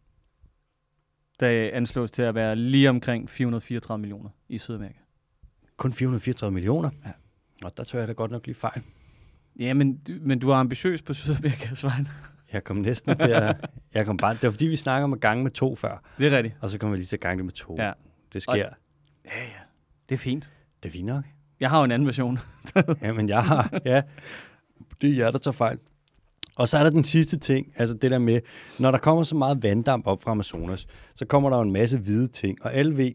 B: der anslås til at være lige omkring 434 millioner i Sydamerika.
A: Kun 434 millioner.
B: Ja.
A: Og der tør jeg da godt nok lige fejl.
B: Ja, men, du- men du er ambitiøs på Sydamerikas vegne.
A: Jeg kom næsten til at... Jeg kom bare, det var fordi, vi snakker om at gange med to før,
B: Det er rigtigt.
A: og så kommer vi lige til at gange det med to.
B: Ja.
A: Det sker.
B: Ja, ja. Det er fint.
A: Det er fint nok.
B: Jeg har jo en anden version.
A: Jamen, jeg har, ja. Det er jer, der tager fejl. Og så er der den sidste ting, altså det der med, når der kommer så meget vanddamp op fra Amazonas, så kommer der jo en masse hvide ting, og alle ved,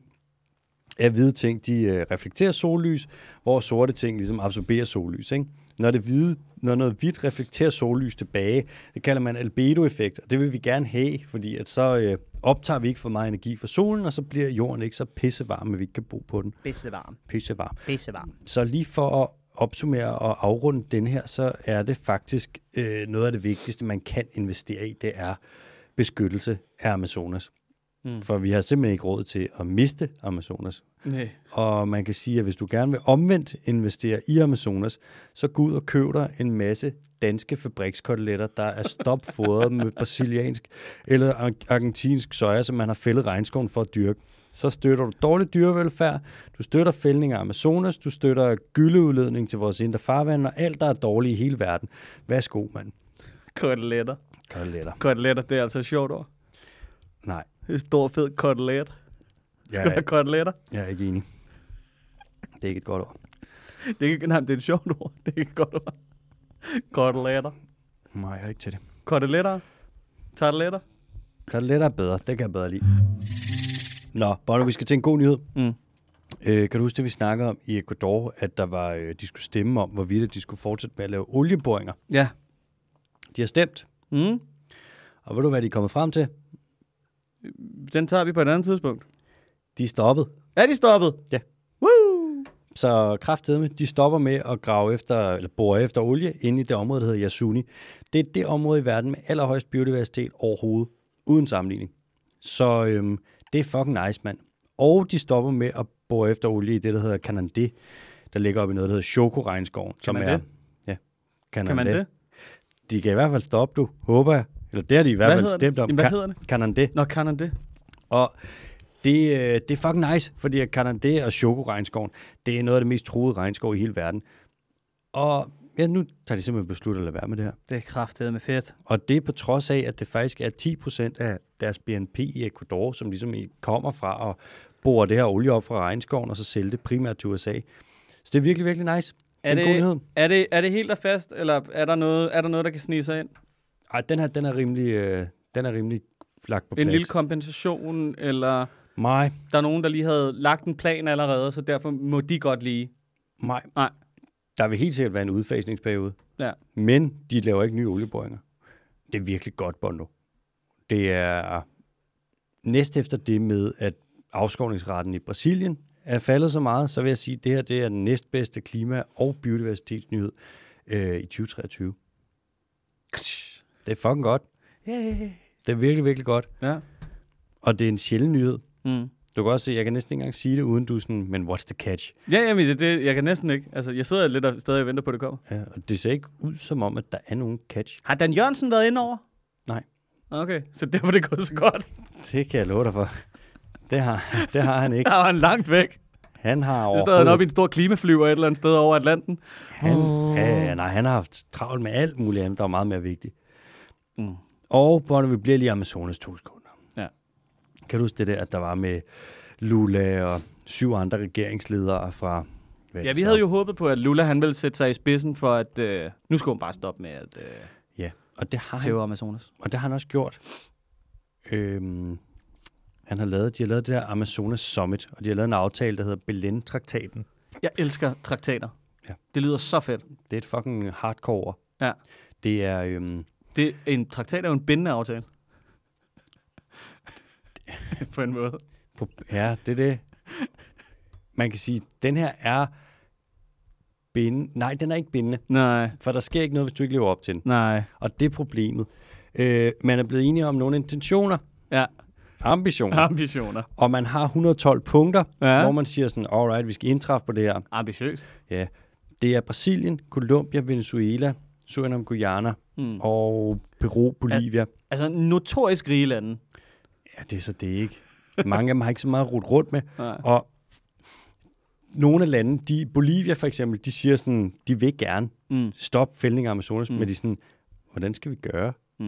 A: at hvide ting, de øh, reflekterer sollys, hvor sorte ting ligesom absorberer sollys, ikke? Når, det hvide, når noget hvidt reflekterer sollys tilbage, det kalder man albedoeffekt, og det vil vi gerne have, fordi at så øh, optager vi ikke for meget energi fra solen, og så bliver jorden ikke så pissevarm, at vi ikke kan bo på den.
B: Bedste varm.
A: Pissevarm.
B: Bedste varm.
A: Så lige for at opsummere og afrunde den her, så er det faktisk øh, noget af det vigtigste, man kan investere i, det er beskyttelse af Amazonas.
B: Mm.
A: Mm. For vi har simpelthen ikke råd til at miste Amazonas.
B: Nej.
A: Og man kan sige, at hvis du gerne vil omvendt investere i Amazonas, så gå ud og køb dig en masse danske fabrikskoteletter, der er stopfodret med brasiliansk eller ar- argentinsk soja, som man har fældet regnskoven for at dyrke. Så støtter du dårlig dyrevelfærd, du støtter fældning af Amazonas, du støtter gyldeudledning til vores indre farvand, og alt, der er dårligt i hele verden. Værsgo, mand.
B: Koteletter.
A: Koteletter.
B: Koteletter, det er altså et sjovt ord.
A: Nej,
B: Det er en stor, fed kotelet. Det skal
A: Ja, ja.
B: være koteletter.
A: jeg er ikke enig. Det er ikke et godt ord.
B: Det er, ikke, nej, det er et sjovt ord. Det er ikke et godt ord. Koteletter.
A: Nej, jeg er ikke til det.
B: Koteletter. Tarteletter.
A: Koteletter er bedre, det kan jeg bedre lide. Nå, Bono, vi skal til en god nyhed.
B: Mm.
A: Øh, kan du huske det, vi snakkede om i Ecuador, at der var, øh, de skulle stemme om, hvorvidt at de skulle fortsætte med at lave olieboringer?
B: Ja.
A: De har stemt,
B: Mm.
A: og ved du, hvad de er kommet frem til?
B: Den tager vi på et andet tidspunkt.
A: De er stoppet.
B: Er de stoppet?
A: Ja.
B: Woo!
A: Så kraftedeme, de stopper med at grave efter, eller bore efter olie inde i det område, der hedder Yasuni. Det er det område i verden med allerhøjst biodiversitet overhovedet, uden sammenligning. Så øhm, det er fucking nice, mand. Og de stopper med at bore efter olie i det, der hedder Kanandé, der ligger op i noget, der hedder Chokoregnskoven. Som
B: man
A: er,
B: det?
A: Ja,
B: Kan man det?
A: De kan i hvert fald stoppe, du. Håber jeg. Eller det har de i hvert
B: Hvad
A: fald
B: hedder
A: stemt
B: den?
A: om.
B: Jamen, hvad
A: Ka-
B: hedder den?
A: Kanandé.
B: Nå, kan han det?
A: Og det, øh, det er fucking nice, fordi at Kanandé og Chokoregnskoven, det er noget af det mest truede regnskov i hele verden. Og ja, nu tager de simpelthen besluttet at lade være med det her.
B: Det er kraftedet med fedt.
A: Og det er på trods af, at det faktisk er 10% af deres BNP i Ecuador, som ligesom i- kommer fra at bore det her olie op fra regnskoven, og så sælge det primært til USA. Så det er virkelig, virkelig nice.
B: Er
A: en god nyhed.
B: det, er, det, er det helt og fast, eller er der noget, er der, noget der kan snige sig ind?
A: Ej, den her, den er rimelig, øh, den er rimelig lagt på plads.
B: En lille kompensation, eller
A: Nej,
B: der er nogen, der lige havde lagt en plan allerede, så derfor må de godt lige.
A: nej.
B: Nej.
A: Der vil helt sikkert være en udfasningsperiode.
B: Ja.
A: Men de laver ikke nye olieboringer. Det er virkelig godt, Bondo. Det er næst efter det med, at afskovningsraten i Brasilien er faldet så meget, så vil jeg sige, at det her det er den næstbedste klima- og biodiversitetsnyhed øh, i 2023. Det er fucking godt.
B: Yeah.
A: Det er virkelig, virkelig godt.
B: Ja.
A: Og det er en sjælden nyhed.
B: Mm.
A: Du kan også se, jeg kan næsten ikke engang sige det, uden du er sådan, men what's the catch?
B: Ja, jamen, det, det, jeg kan næsten ikke. Altså, jeg sidder lidt og stadig venter på, at det kommer.
A: Ja, og det ser ikke ud som om, at der er nogen catch.
B: Har Dan Jørgensen været inde over?
A: Nej.
B: Okay, så derfor er det gået så godt.
A: Det kan jeg love dig for. Det har, det har han ikke.
B: Der var han langt væk.
A: Han har
B: Det stod han
A: overhovedet...
B: oppe i en stor klimaflyver et eller andet sted over Atlanten.
A: Han, ja, nej, han har haft travlt med alt muligt andet, der er meget mere vigtigt.
B: Mm.
A: Og Bono, vi bliver lige i Amazonas to sekunder.
B: Ja.
A: Kan du huske det der, at der var med Lula og syv andre regeringsledere fra... hvad er
B: Ja,
A: det
B: vi
A: så?
B: havde jo håbet på, at Lula han ville sætte sig i spidsen for, at øh, nu skulle hun bare stoppe med at øh,
A: Ja, og det har, han,
B: tæve Amazonas.
A: og det har han også gjort. Øhm, han har lavet, de har lavet det der Amazonas Summit, og de har lavet en aftale, der hedder Belén-traktaten.
B: Jeg elsker traktater.
A: Ja.
B: Det lyder så fedt.
A: Det er et fucking hardcore. ord.
B: Ja.
A: Det er... Øhm,
B: Det, en traktat er jo en bindende aftale. på en måde.
A: Pro- Ja, det er det. Man kan sige, den her er bindende. Nej, den er ikke bindende,
B: Nej,
A: for der sker ikke noget, hvis du ikke lever op til den.
B: nej.
A: Og det er problemet. Øh, man er blevet enige om nogle intentioner,
B: Ja,
A: ambitioner,
B: ambitioner.
A: og man har 112 punkter,
B: Ja.
A: hvor man siger sådan, alright, vi skal indtræffe på det her.
B: Ambitiøst.
A: Ja, det er Brasilien, Colombia, Venezuela, Surinam, Guyana
B: Mm.
A: og Peru, Bolivia.
B: Altså, notorisk rige lande.
A: Ja, det er så det ikke. Mange af dem har ikke så meget at rundt med.
B: Nej.
A: Og nogle af landene, de, Bolivia for eksempel, de siger sådan, de vil gerne
B: Mm.
A: stoppe fældning af Amazonas,
B: Mm.
A: mm. men de er sådan, hvordan skal vi gøre?
B: Mm.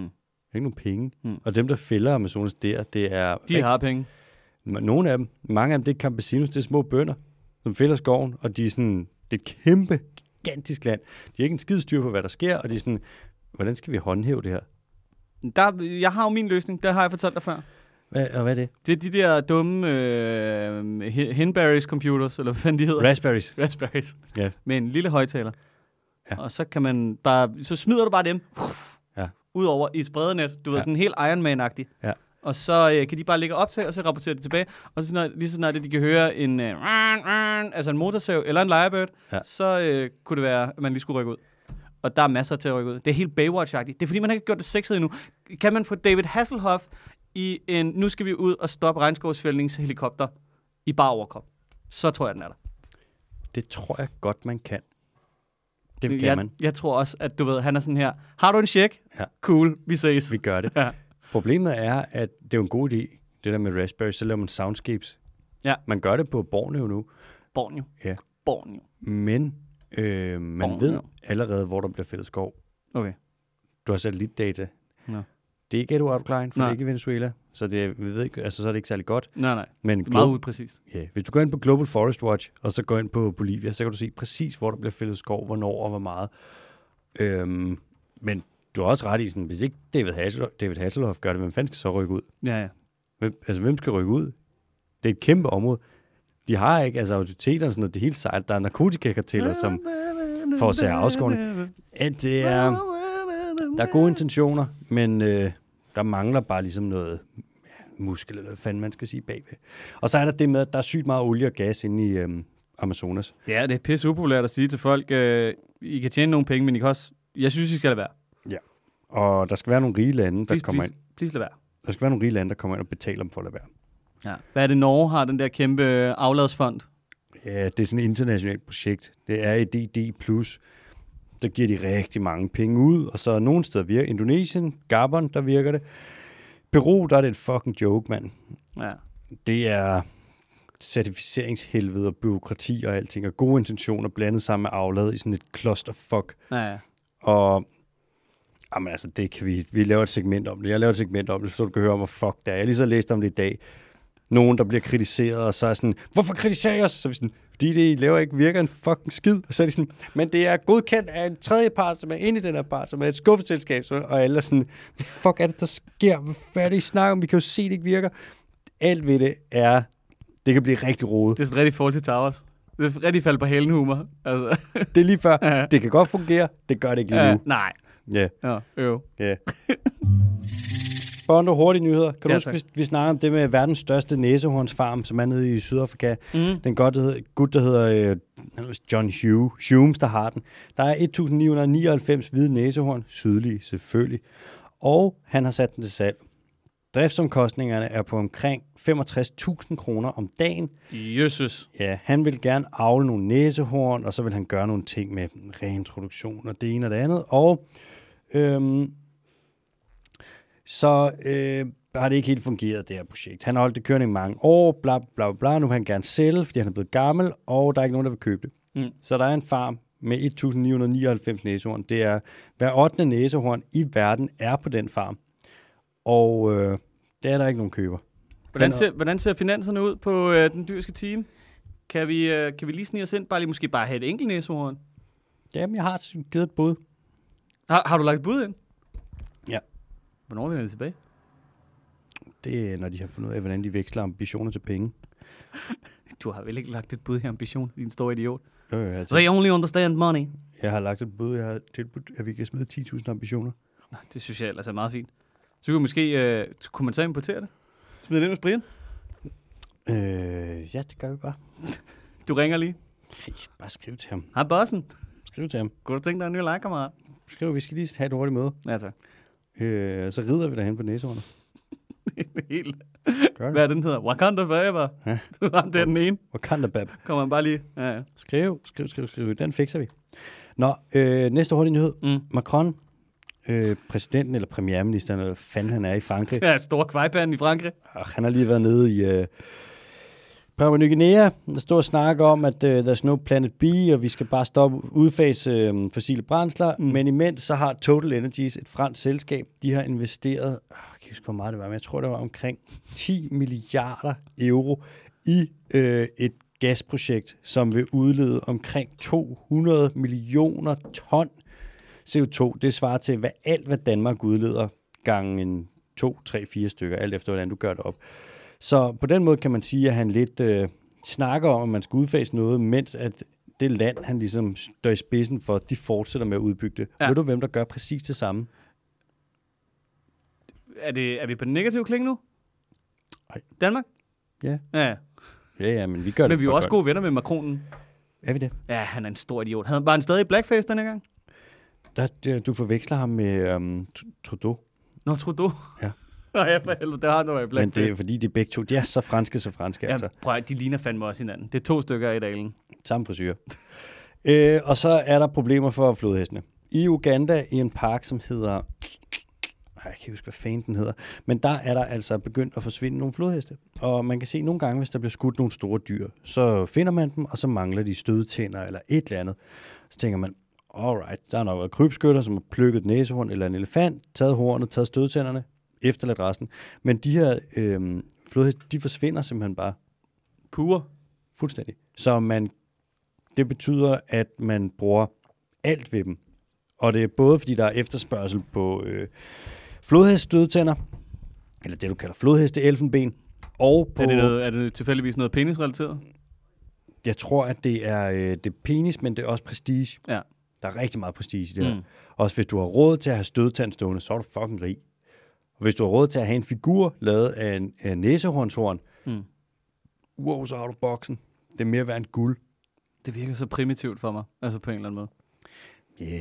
A: Der er ikke nogen penge.
B: Mm.
A: Mm. Og dem, der fælder Amazonas der, det er...
B: De har penge.
A: Nogle af dem, mange af dem, det er campesinos, det er små bønder, som fælder skoven, og de er sådan, det er et kæmpe, gigantisk land. De har ikke en skid styr på, hvad der sker, og de er sådan, hvordan skal vi håndhæve det her?
B: Der, jeg har jo min løsning, det har jeg fortalt dig før.
A: Hvad, og hvad er det?
B: Det er de der dumme øh, he- Henberry's computers, eller hvad fanden de hedder.
A: Raspberries.
B: Raspberries.
A: Ja.
B: Med en lille højtaler. Ja.
A: Ja.
B: Og så kan man bare, så smider du bare dem.
A: Ja.
B: Ud over i et spredenet. Du ved,
A: Ja.
B: sådan helt Iron Man-agtig.
A: Ja.
B: Og så øh, kan de bare ligge og optage, og så rapportere det tilbage. Og så, når, lige så snart det, de kan høre en, øh, altså en motorsav eller en Lyrebird,
A: Ja.
B: så øh, kunne det være, at man lige skulle rykke ud. Og der er masser til at rykke ud. Det er helt Baywatch-agtigt. Det er fordi, man ikke har gjort det sexet endnu. Kan man få David Hasselhoff i en, nu skal vi ud og stoppe regnskovsfældningshelikopter i bare overkrop? Så tror jeg, den er der.
A: Det tror jeg godt, man kan. Det kan
B: jeg,
A: man.
B: Jeg tror også, at du ved, han er sådan her, har du en check?
A: Ja.
B: Cool, vi ses.
A: Vi gør det.
B: Ja.
A: Problemet er, at det er jo en god idé, det der med Raspberry, så laver man soundscapes.
B: Ja.
A: Man gør det på Borneo nu,
B: Borneo.
A: Ja.
B: Borneo.
A: men øh, man
B: Borneo.
A: ved allerede, hvor der bliver fældet skov.
B: Okay.
A: Du har satellitdata.
B: Nå.
A: Det er ikke Edward outline, for
B: Nej.
A: det er ikke Venezuela, så, det, vi ved ikke, altså, så er det ikke særlig godt.
B: Nej, nej.
A: Men
B: Det er meget
A: glo-
B: upræcist.
A: ja, hvis du går ind på Global Forest Watch, og så går ind på Bolivia, så kan du se præcis, hvor der bliver fældet skov, hvornår og hvor meget. Øhm, men du har også ret i, sådan, hvis ikke David, Hassel- David Hasselhoff gør det, hvem fanden skal så rykke ud?
B: Ja, ja.
A: Hvem, altså, hvem skal rykke ud? Det er et kæmpe område. De har ikke, altså autoriteterne og sådan noget, det er helt sejt. Der er narkotikakarteller, som forårsager afskovning. at det er, der er gode intentioner, men øh, der mangler bare ligesom noget ja, muskel, eller hvad fanden man skal sige bagved. Og så er der det med, at der er sygt meget olie og gas inde i øh, Amazonas.
B: Ja, det er pisse upopulært at sige til folk, øh, I kan tjene nogle penge, men I kan også... Jeg synes, I skal lade være.
A: Og der skal være nogle rige lande, der
B: Please,
A: kommer
B: please,
A: ind.
B: please lade være.
A: Der skal være nogle rige lande, der kommer ind og betaler dem for at lade være.
B: Ja. Hvad er det, Norge har den der kæmpe øh, afladsfond?
A: Ja, det er sådan et internationalt projekt. Det er et DD+. Der giver de rigtig mange penge ud, og så nogle steder virker Indonesien, Gabon, der virker det. Peru, der er det et fucking joke, mand.
B: Ja.
A: Det er certificeringshelvede og byråkrati og alting, og gode intentioner blandet sammen med aflad i sådan et clusterfuck.
B: Ja, ja.
A: Og jamen, altså, det kan vi, vi laver et segment om det. Jeg laver et segment om det, så du kan høre om, hvor fuck det er. Jeg har lige så læst om det i dag. Nogen, der bliver kritiseret, og så er sådan, hvorfor kritiserer I os? Så er vi sådan, fordi det, I laver ikke virker en fucking skid. Og så er de sådan, men det er godkendt af en tredje part, som er inde i den her part, som er et skuffeselskab. Så- Og alle er sådan, hvad fuck er det, der sker? Hvad fanden er det, I snakker om? Vi kan jo se, det ikke virker. Alt ved det er, det kan blive rigtig rodet.
B: Det er sådan rigtig forhold til Towers. Det er rigtig fald på hælen humor. Altså.
A: Det er lige før,
B: Ja.
A: det kan godt fungere, det gør det ikke lige
B: Ja,
A: nu.
B: nej.
A: Ja.
B: Ja, øv.
A: Ja. Bondo, hurtige nyheder. Kan du
B: Ja,
A: ja, huske,
B: tak.
A: vi, vi snakker om det med verdens største næsehornsfarm, som er nede i Sydafrika?
B: Mm.
A: Den godt, der hedder, gut, der hedder øh, han hedder John Hugh, Humes, der har den. Der er 1999 hvide næsehorn, sydlige selvfølgelig. Og han har sat den til salg. Driftsomkostningerne er på omkring 65.000 kroner om dagen.
B: Jesus.
A: Ja, han vil gerne avle nogle næsehorn, og så vil han gøre nogle ting med reintroduktion og det ene og det andet. Og øhm, så øh, har det ikke helt fungeret, det her projekt. Han har holdt det kørende i mange år, bla bla bla. Nu vil han gerne sælge, fordi han er blevet gammel, og der er ikke nogen, der vil købe det.
B: Mm.
A: Så der er en farm med 1999 næsehorn. Det er hver 8. næsehorn i verden er på den farm. Og øh, der er der ikke nogen køber.
B: Hvordan
A: Den-
B: ser, hvordan ser finanserne ud på øh, den dyrske team? Kan vi, øh, kan vi lige snige os ind? Bare lige måske bare have et enkelt næsehorn.
A: Jamen, jeg har givet et bud.
B: Har, har du lagt et bud ind?
A: Ja.
B: Hvornår vender det tilbage?
A: Det er, når de har fundet ud af, hvordan de veksler ambitioner til penge.
B: Du har vel ikke lagt et bud her, ambition, din store idiot.
A: Jo, jo, jeg,
B: They only understand money.
A: jeg har lagt et bud, jeg har tilbudt, at vi kan smide 10.000 ambitioner.
B: Nå, det synes jeg ellers er meget fint. Så kunne, vi måske, øh, kunne man så importere det? Smid det ind hos Brian.
A: Øh, ja, det gør vi bare.
B: Du ringer lige.
A: Hey, bare skriv til ham.
B: Hej bossen.
A: Skriv til ham.
B: Kunne du tænke dig en ny legekammerat?
A: Skriv, vi skal lige have et hurtigt møde.
B: Ja, tak.
A: Øh, så rider vi derhen på næsehånden.
B: Helt.
A: Gør det.
B: Hvad er den hedder? Wakanda Forever.
A: Ja.
B: Du har den ene.
A: Wakanda bab.
B: Kommer man bare lige. Ja, ja.
A: Skriv, skriv, skriv, skriv. Den fikser vi. Nå, øh, næste hurtige nyhed.
B: Mm.
A: Macron, øh, præsidenten eller premierministeren, eller hvad fanden han er i Frankrig.
B: Det er en stor kvejpande i Frankrig.
A: Og han har lige været nede i øh, Papua Ny Guinea og stod og snakke om, at øh, there's no planet B, og vi skal bare stoppe udfase øh, fossile brændsler. Mm. Men imens så har Total Energies, et fransk selskab, de har investeret, øh, jeg kan ikke huske, hvor meget det var, men jeg tror, det var omkring 10 milliarder euro i øh, et gasprojekt, som vil udlede omkring 200 millioner ton CO2. Det svarer til hvad alt, hvad Danmark udleder, gange en 2, 3, 4 stykker, alt efter hvordan du gør det op. Så på den måde kan man sige, at han lidt øh, snakker om, at man skal udfase noget, mens at det land, han ligesom står i spidsen for, de fortsætter med at udbygge det.
B: Ja.
A: Ja. Ved du, hvem der gør præcis det samme?
B: Er, det, er vi på den negative klinge nu?
A: Nej.
B: Danmark?
A: Ja.
B: Ja,
A: Ja, ja, men vi gør det.
B: men vi er jo
A: for
B: også
A: godt.
B: gode venner med Macronen.
A: Er vi det?
B: Ja, han er en stor idiot. Havde, var han stadig i blackface denne gang?
A: Der, der, du forveksler ham med um, Trudeau.
B: Nå, Trudeau.
A: Ja.
B: Nå ja, for helvede, der har han der var i
A: Men
B: blackface.
A: det er fordi, de begge to, de er så franske, så franske. Ja.
B: ja,
A: Altså.
B: prøv, at- de ligner fandme også hinanden. Det er to stykker i dalen.
A: Samme frisyr. øh, og så er der problemer for flodhestene. I Uganda, i en park, som hedder... Ej, Jeg kan ikke huske, hvad fanden den hedder. Men der er der altså begyndt at forsvinde nogle flodheste. Og man kan se nogle gange, hvis der bliver skudt nogle store dyr, så finder man dem, og så mangler de stødtænder eller et eller andet. Så tænker man, alright, der har nok været krybskytter, som har plukket et næsehorn eller en elefant, taget hornet, taget stødtænderne, efterladt resten. Men de her øh, flodheste, de forsvinder simpelthen bare.
B: Pure.
A: Fuldstændig. Så man, det betyder, at man bruger alt ved dem. Og det er både, fordi der er efterspørgsel på øh, flodheststødtænder, eller det, du kalder flodheste-elfenben, og på,
B: Er det, noget, er det tilfældigvis noget penisrelateret?
A: jeg tror, at det er, øh, det er penis, men det er også prestige.
B: Ja.
A: Der er rigtig meget prestige i det her.
B: Mm.
A: Mm. Også hvis du har råd til at have stødtand stående, så er du fucking rig. Og hvis du har råd til at have en figur lavet af en, af en næsehornshorn,
B: Mm.
A: wow, så har du boksen. Det er mere værd end guld.
B: Det virker så primitivt for mig, altså på en eller anden måde.
A: Ja, yeah.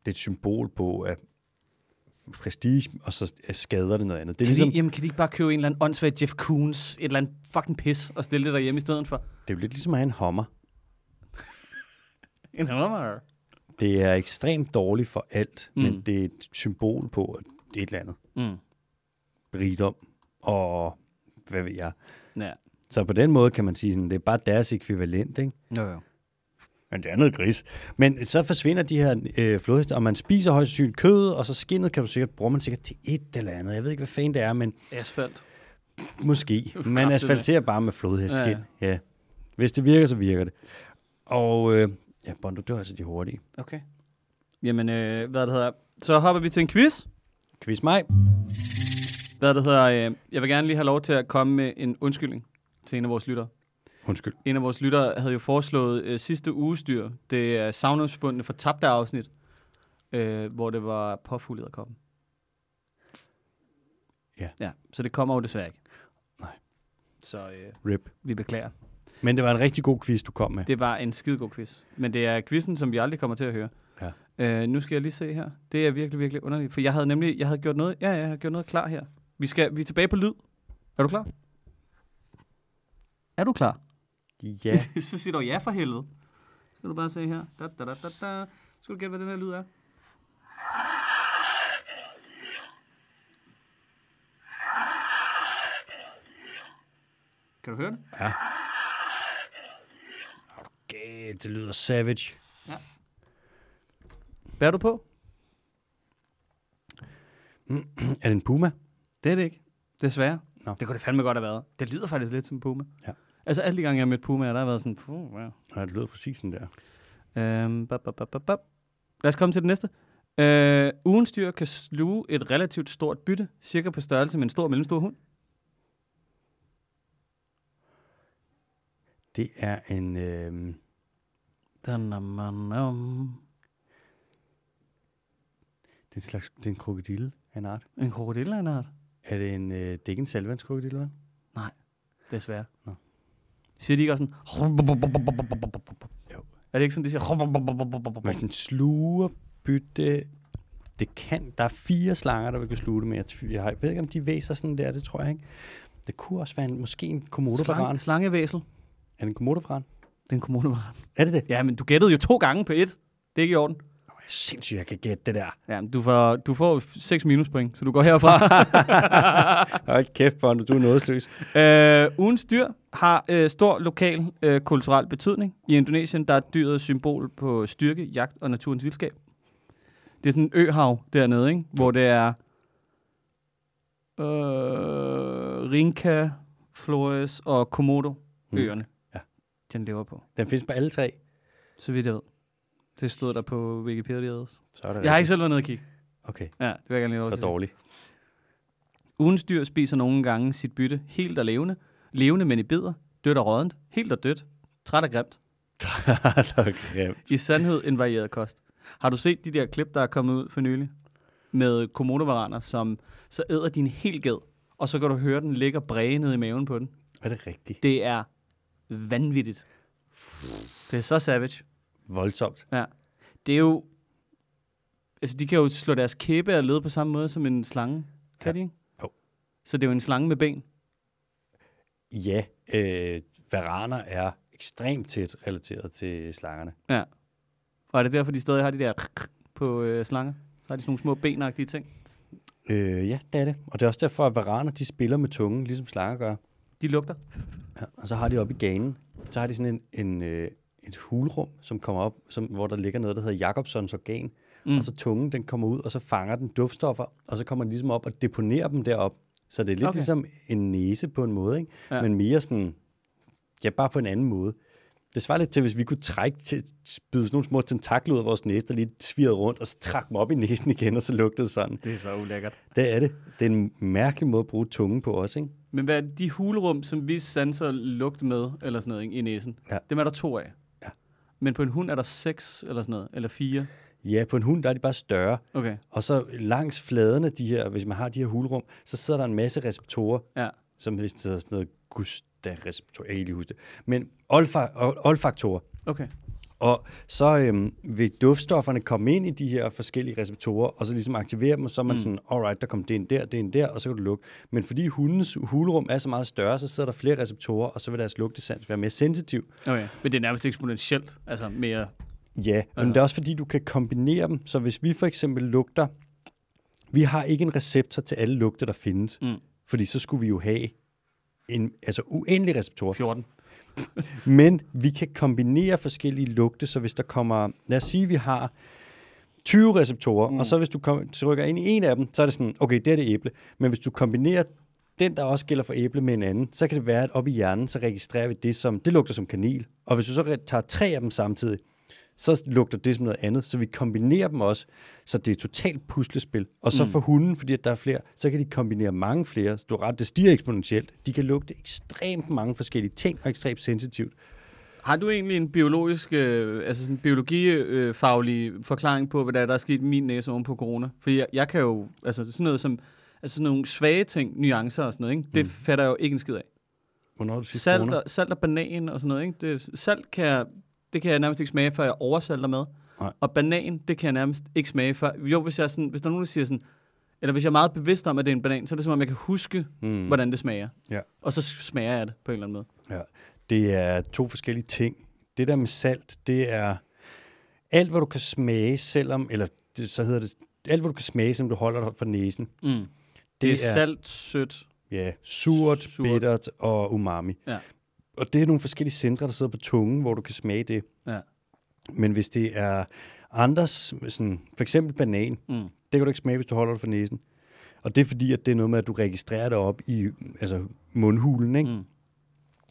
A: det er et symbol på, at prestige, og så skader det noget andet. Det er,
B: Kan ligesom...
A: ligesom,
B: de, jamen, kan de ikke bare købe en eller anden åndssvagt Jeff Koons, et eller andet fucking pis, og stille det derhjemme i stedet for?
A: det er jo lidt ligesom at have en hommer.
B: En hammer.
A: Det er ekstremt dårligt for alt, mm.
B: Mm.
A: men det er et symbol på at det er et eller andet
B: Mm.
A: rigdom, og hvad ved jeg.
B: Ja.
A: Så på den måde kan man sige, sådan, det er bare deres ekvivalent, ikke?
B: Jo, jo.
A: Men det er noget gris. Men så forsvinder de her øh, flodheste, og man spiser højst sandsynligt kød, og så skindet kan du sikkert, bruger man sikkert til et eller andet. Jeg ved ikke, hvad fanden det er, men
B: Asfalt.
A: Måske. Man
B: med.
A: asfalterer bare med flodhestskin.
B: Ja,
A: Ja, ja. ja. Hvis det virker, så virker det. Og øh, ja, Bondo, det var altså de hurtige.
B: Okay. Jamen, øh, hvad det hedder... Så hopper vi til en quiz.
A: Quiz mig.
B: Hvad det hedder... Øh, jeg vil gerne lige have lov til at komme med en undskyldning til en af vores lyttere.
A: Undskyld.
B: En af vores lyttere havde jo foreslået øh, sidste uges dyr, det er savnomsbundne for tabte afsnit, øh, hvor det var påfuglet koppen.
A: Ja.
B: ja. Så det kommer jo desværre ikke.
A: Nej.
B: Så øh,
A: Rip.
B: vi beklager.
A: Men det var en rigtig god quiz, du kom med.
B: Det var en skidegod quiz. Men det er quizzen, som vi aldrig kommer til at høre.
A: Ja.
B: Øh, nu skal jeg lige se her. Det er virkelig, virkelig underligt. For jeg havde nemlig jeg havde gjort noget, ja, jeg havde gjort noget klar her. Vi, skal, vi er tilbage på lyd. Er du klar? Er du klar?
A: Ja.
B: så siger du ja for helvede. Så kan du bare se her. Da, da, da, da, da. Skal du gætte, hvad den her lyd er? Kan du høre det?
A: Okay, det lyder savage.
B: Hvad er du på?
A: Er det en puma?
B: Det er det ikke. Desværre.
A: Nå.
B: Det kunne det fandme godt have været. Det lyder faktisk lidt som Puma.
A: Ja.
B: Altså alle de gange, jeg har mødt Puma, der har været sådan, puh, wow.
A: Ja, det lyder præcis sådan der.
B: Øhm, bap, bap, bap, bap, bap. Lad os komme til det næste. Øh, ugens dyr kan sluge et relativt stort bytte, cirka på størrelse med en stor og mellemstor hund.
A: Det er en... Øh,
B: Danamam.
A: det er en slags... Det er en krokodille af en art.
B: En krokodille af en art.
A: Er det en... Øh, det er ikke en salvandskrokodille, vel?
B: Desværre.
A: Nå.
B: Siger de ikke også sådan...
A: Jo.
B: Er det ikke sådan, de siger...
A: Men sådan sluger, bytte... Det kan. Der er fire slanger, der vil kunne sluge det med. Jeg, tv- jeg har- jeg ved ikke, om de væser sådan der, det tror jeg ikke. Det kunne også være en, måske en komodovaran.
B: Slang, slangevæsel.
A: Er det en komodovaran?
B: Den kommune var
A: Er det det?
B: Ja, men du gættede jo to gange på et. Det er ikke i orden.
A: Nå, sindssygt, jeg kan gætte det der.
B: Ja, du får, du får 6 minuspoint, så du går herfra.
A: Hold kæft, Bondo, du er nådesløs.
B: øh, ugens dyr har øh, stor lokal øh, kulturel betydning. I Indonesien der er dyret et symbol på styrke, jagt og naturens vildskab. Det er sådan en øhav dernede, ikke? hvor det er øh, Rinca, Flores og Komodo-øerne,
A: Mm. Ja.
B: den lever på,
A: Den findes på alle tre.
B: så vidt jeg ved. Det stod der på Wikipedia også.
A: Så er det
B: Jeg har ikke
A: rigtigt.
B: selv været nede og kigge.
A: Okay,
B: Ja, det vil jeg gerne lige have lov
A: for
B: til at sige.
A: dårligt.
B: Ugens dyr spiser nogle gange sit bytte helt og levende. Levende, men i bidder. Dødt og rådent. Helt og dødt. Træt og grimt.
A: det var grimt.
B: I sandhed en varieret kost. Har du set de der klip, der er kommet ud for nylig? Med komodovaraner, som så æder din helt ged, og så kan du høre den ligger bræge ned i maven på den.
A: Er det rigtigt?
B: Det er vanvittigt. Det er så savage.
A: Voldsomt.
B: Ja. Det er jo... Altså, de kan jo slå deres kæbe og led på samme måde som en slange. Kan
A: Ja.
B: de ikke?
A: Jo.
B: Så det er jo en slange med ben.
A: Ja, øh, varaner er ekstremt tæt relateret til slangerne.
B: Og er det derfor, de stadig har de der på øh, slanger? Så har de sådan nogle små benagtige ting.
A: Øh, ja, det er det. Og det er også derfor, at varaner de spiller med tungen, ligesom slanger gør.
B: De lugter.
A: Ja, og så har de oppe i ganen, så har de sådan en, en, øh, et hulrum, som kommer op, som, hvor der ligger noget, der hedder Jacobsons organ. Mm. Og så tungen, den kommer ud, og så fanger den duftstoffer, og så kommer den ligesom op og deponerer dem derop. Så det er lidt
B: Okay.
A: okay. ligesom en næse på en måde, ikke?
B: Ja.
A: Ja. men mere sådan, ja, bare på en anden måde. Det svarer lidt til, hvis vi kunne trække til, spyde sådan nogle små tentakler ud af vores næse, der lige svirrede rundt, og så trak dem op i næsen igen, og så lugtede det sådan.
B: Det er så ulækkert.
A: Det er det. Det er en mærkelig måde at bruge tungen på også, ikke?
B: Men hvad er det, de hulrum, som vi sanser lugt med, eller sådan noget, ikke, i næsen?
A: Ja.
B: Dem er der to af.
A: Ja.
B: Men på en hund er der seks, eller sådan noget, eller fire.
A: Ja, på en hund, der er de bare større.
B: Okay,
A: Og så langs fladen af de her, hvis man har de her hulrum, så sidder der en masse receptorer,
B: ja.
A: som hvis det hedder sådan noget gustareceptorer, jeg kan ikke lige huske det, men olfa, ol- olfaktorer.
B: Okay.
A: Og så øhm, vil duftstofferne komme ind i de her forskellige receptorer, og så ligesom aktivere dem, og så er man mm. sådan, alright, der kom det ind der, det ind der, og så kan du lukke. Men fordi hundens hulrum er så meget større, så sidder der flere receptorer, og så vil deres lugtesans være mere sensitiv.
B: okay. Men det er nærmest eksponentielt, altså mere...
A: Ja, men det er også fordi, du kan kombinere dem. Så hvis vi for eksempel lugter... Vi har ikke en receptor til alle lugte, der findes.
B: Mm.
A: Fordi så skulle vi jo have en altså uendelig receptor.
B: 14.
A: Men vi kan kombinere forskellige lugte, så hvis der kommer... Lad os sige, vi har 20 receptorer, mm. og så hvis du kom, trykker ind i en af dem, så er det sådan, okay, det er det æble. Men hvis du kombinerer den, der også gælder for æble med en anden, så kan det være, at op i hjernen, så registrerer vi det som, det lugter som kanel. Og hvis du så re- tager tre af dem samtidig, så lugter det som noget andet. Så vi kombinerer dem også, så det er et totalt puslespil. Og så for hunden, fordi at der er flere, så kan de kombinere mange flere. Så Du har ret, det stiger eksponentielt. De kan lugte ekstremt mange forskellige ting, og ekstremt sensitivt.
B: Har du egentlig en biologisk, øh, altså sådan biologifaglig øh, faglig forklaring på, hvad der er, der er sket i min næse oven på corona? For jeg, jeg kan jo, altså sådan noget som, altså sådan nogle svage ting, nuancer og sådan noget, ikke? det mm. fatter jeg jo ikke en skid af.
A: Hvornår har du sidst
B: Salt
A: corona?
B: og, salt og banan og sådan noget, ikke? Det, salt kan jeg, det kan jeg nærmest ikke smage, før jeg oversalter med.
A: Nej.
B: Og banan, det kan jeg nærmest ikke smage før. Jo, hvis, jeg sådan, hvis der er nogen, der siger sådan, eller hvis jeg er meget bevidst om, at det er en banan, så er det som om, jeg kan huske, mm. hvordan det smager.
A: Ja.
B: Og så smager jeg det på en eller anden måde.
A: Ja. Det er to forskellige ting. Det der med salt, det er alt, hvad du kan smage, selvom, eller det, så hedder det, alt, hvad du kan smage, som du holder dig for næsen.
B: Mm. Det, det
A: Det
B: er,
A: er-
B: er salt, sødt,
A: Ja, surt,
B: Surt.
A: surt. bittert og umami.
B: Ja.
A: Og det er nogle forskellige centre, der sidder på tungen, hvor du kan smage det.
B: Ja.
A: Men hvis det er andres, sådan, for eksempel banan, mm. det kan du ikke smage, hvis du holder det for næsen. Og det er fordi, at det er noget med, at du registrerer det op i altså mundhulen, ikke? Mm.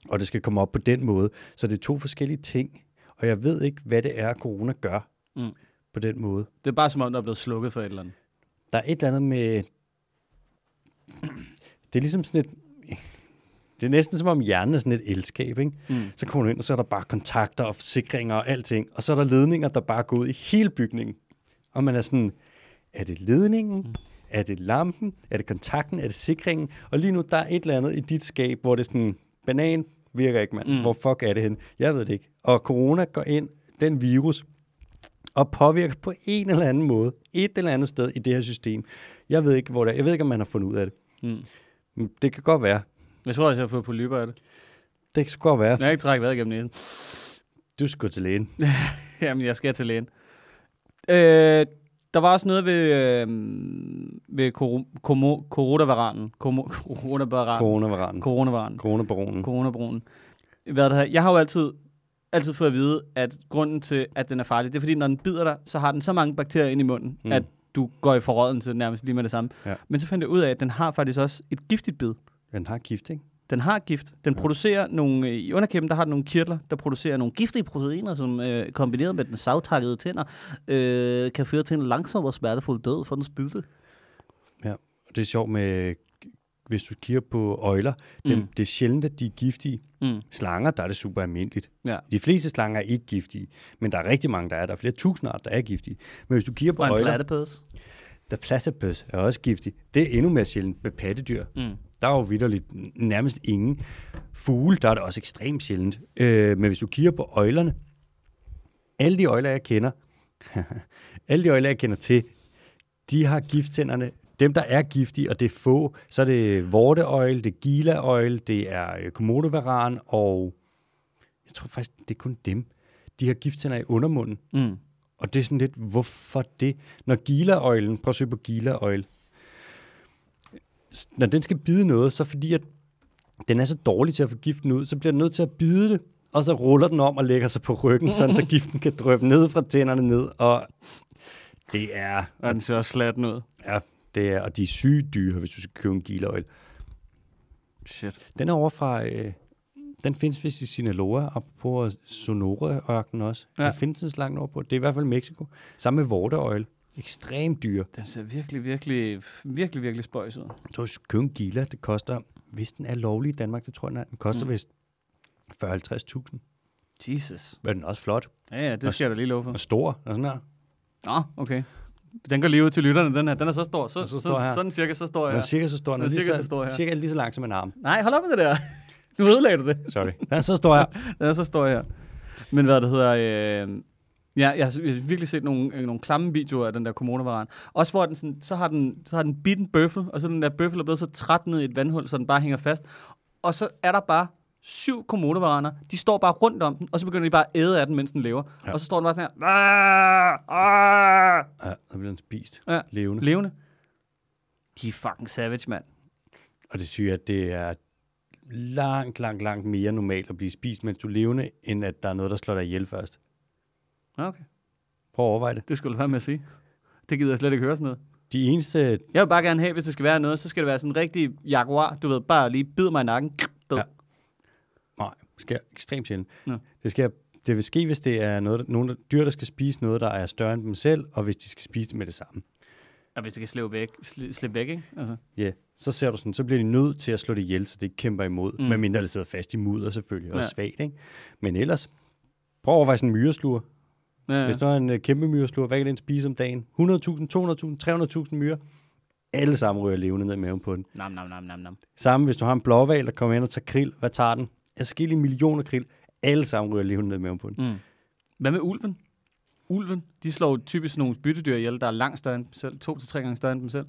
A: og det skal komme op på den måde. Så det er to forskellige ting, og jeg ved ikke, hvad det er, corona gør
B: Mm.
A: på den måde.
B: Det er bare som om, der er blevet slukket for et eller andet.
A: Der er et eller andet med... Det er ligesom sådan et... Det er næsten som om hjernen er sådan et elskab, ikke? Mm. Så kommer du ind, og så er der bare kontakter og forsikringer og alting. Og så er der ledninger, der bare går ud i hele bygningen. Og man er sådan, er det ledningen? Mm. Er det lampen? Er det kontakten? Er det sikringen? Og lige nu, der er et eller andet i dit skab, hvor det er sådan, banan virker ikke, mand. Mm. Hvor fuck er det henne? Jeg ved det ikke. Og corona går ind, den virus, og påvirkes på en eller anden måde, et eller andet sted i det her system. Jeg ved ikke, hvor det er. Jeg ved ikke, om man har fundet ud af det.
B: Mm.
A: Men Det kan godt være.
B: Jeg tror også, jeg har fået polyper af det.
A: Det kan godt være.
B: Jeg har ikke trækket vejret igennem næsen.
A: Du skal gå til lægen.
B: Jamen, jeg skal til lægen. Øh, der var også noget ved, øh, ved kor- komo- coronavaranen. Komo- coronavaranen.
A: Coronavaranen.
B: Coronavaranen.
A: Coronabaronen.
B: Coronabroen. Hvad det her? Jeg har jo altid, altid fået at vide, at grunden til, at den er farlig, det er fordi, når den bider dig, så har den så mange bakterier ind i munden,
A: Mm.
B: mm. at du går i forråden til nærmest lige med det samme.
A: Ja.
B: Men så fandt jeg ud af, at den har faktisk også et giftigt bid.
A: Den har gift, ikke?
B: Den har gift. Den
A: Ja.
B: producerer nogle, øh, i underkæben der har den nogle kirtler, der producerer nogle giftige proteiner, som øh, kombineret med den savtakkede tænder, øh, kan føre til en langsom og smertefuld død for den spylte.
A: Og det er sjovt med, hvis du kigger på øjler, dem,
B: Mm.
A: det er sjældent, at de er giftige.
B: Mm.
A: Slanger, der er det super almindeligt.
B: Ja.
A: De fleste slanger er ikke giftige, men der er rigtig mange, der er. Der er flere tusind arter, der er giftige. Men hvis du kigger på
B: Og en
A: øjler,
B: plattepæs.
A: der platypus er også giftig. Det er endnu mere sjældent med pattedyr.
B: Mm.
A: Der er jo vidderligt nærmest ingen. Fugle, der er det også ekstremt sjældent. Øh, men hvis du kigger på øjlerne, alle de øjler, jeg kender, alle de øjler, jeg kender til, de har gifttænderne. Dem, der er giftige, og det er få, så er det vorteøjle, det er gilaøjle, det er øh, komodovaran, og jeg tror faktisk, det er kun dem. De har gifttænder i undermunden.
B: Mm.
A: Og det er sådan lidt, hvorfor det? Når gilaøjlen, prøv at søge på gilaøjl, S- når den skal bide noget, så fordi at den er så dårlig til at få giften ud, så bliver den nødt til at bide det, og så ruller den om og lægger sig på ryggen, sådan så giften kan drøbe ned fra tænderne ned, og det er,
B: Og den ser også slatten ud.
A: ja, det er, og de er syge dyr, hvis du skal købe en gilaøjl.
B: Shit.
A: Den er over fra, øh, den findes vist i Sinaloa, og på Sonora-ørkenen også. Ja.
B: Ja.
A: Den findes den så langt over på. Det er i hvert fald Mexico. Sammen med vorteøjle. Ekstremt dyr.
B: Den ser virkelig, virkelig, virkelig, virkelig spøjs ud.
A: Jeg tror, hvis du køber en gila, det koster, hvis den er lovlig i Danmark, det tror jeg, den, er, den koster mm.
B: Mm.
A: vist 40-50.000.
B: Jesus.
A: Men den er også flot
B: Ja, ja,
A: Og
B: det skal jeg da lige love for.
A: og stor og sådan her.
B: Nå, okay. Den går lige ud til lytterne, den her. Den er så stor. Så,
A: Og
B: så
A: så står jeg her.
B: sådan cirka, så står
A: Den
B: jeg
A: er
B: her.
A: cirka så stor. Den er, lige,
B: cirka
A: så,
B: så stor her.
A: cirka lige så lang som en arm.
B: Nej, hold op med det der. Nu ødelagde du det.
A: Sorry. Den er så stor her.
B: Den er så stor her. Men hvad det hedder... Øh, ja, jeg har s- jeg har virkelig set nogle, øh, nogle klamme videoer af den der kommunevaran. Også hvor den sådan, så har den, så har den bidt en bøffel, og så er den der bøffel er blevet så træt ned i et vandhul, så den bare hænger fast. Og så er der bare syv kommunevaraner. De står bare rundt om den, og så begynder de bare at æde af den, mens den lever.
A: Ja.
B: Ja. Og så står den bare sådan her. "Ah, ah."
A: Ja, så bliver den spist.
B: Ja.
A: Levende.
B: Levende. De er fucking savage, mand.
A: Og det syge er, at det er langt, langt, langt mere normalt at blive spist, mens du er levende, end at der er noget, der slår dig ihjel først.
B: Okay.
A: Prøv at overveje det.
B: Det skulle du være med at sige. Det gider jeg slet ikke høre sådan noget.
A: De eneste,
B: Jeg vil bare gerne have, hvis det skal være noget, så skal det være sådan en rigtig jaguar. Du ved, bare lige bid mig i nakken. Død.
A: Ja. Nej, det sker ekstremt sjældent.
B: Nå.
A: Det, sker, det vil ske, hvis det er noget, der- nogle der- dyr, der skal spise noget, der er større end dem selv, og hvis de skal spise det med det samme.
B: Og hvis det kan slippe væk, sli- slippe væk ikke? Altså.
A: Ja, yeah. så ser du sådan, så bliver de nødt til at slå det ihjel, så det ikke kæmper imod, mm.
B: Mm.
A: medmindre det sidder fast i mudder selvfølgelig, og er
B: Ja.
A: svagt, ikke? Men ellers, prøv at overveje sådan en myreslur. Ja.
B: Ja, ja.
A: Hvis der er en øh, kæmpe myreslur, hvad kan den spise om dagen? 100.000, 200.000, 300.000 myrer. Alle sammen ryger levende ned i maven på den.
B: Nam, nam, nam, nam, nam.
A: Samme hvis du har en blåval, der kommer ind og tager krill. Hvad tager den? Adskillige millioner krill. Alle sammen ryger levende ned i maven på den.
B: Mm. Hvad med ulven? Ulven, de slår jo typisk nogle byttedyr ihjel, der er langt større end dem selv. To til tre gange større end dem selv.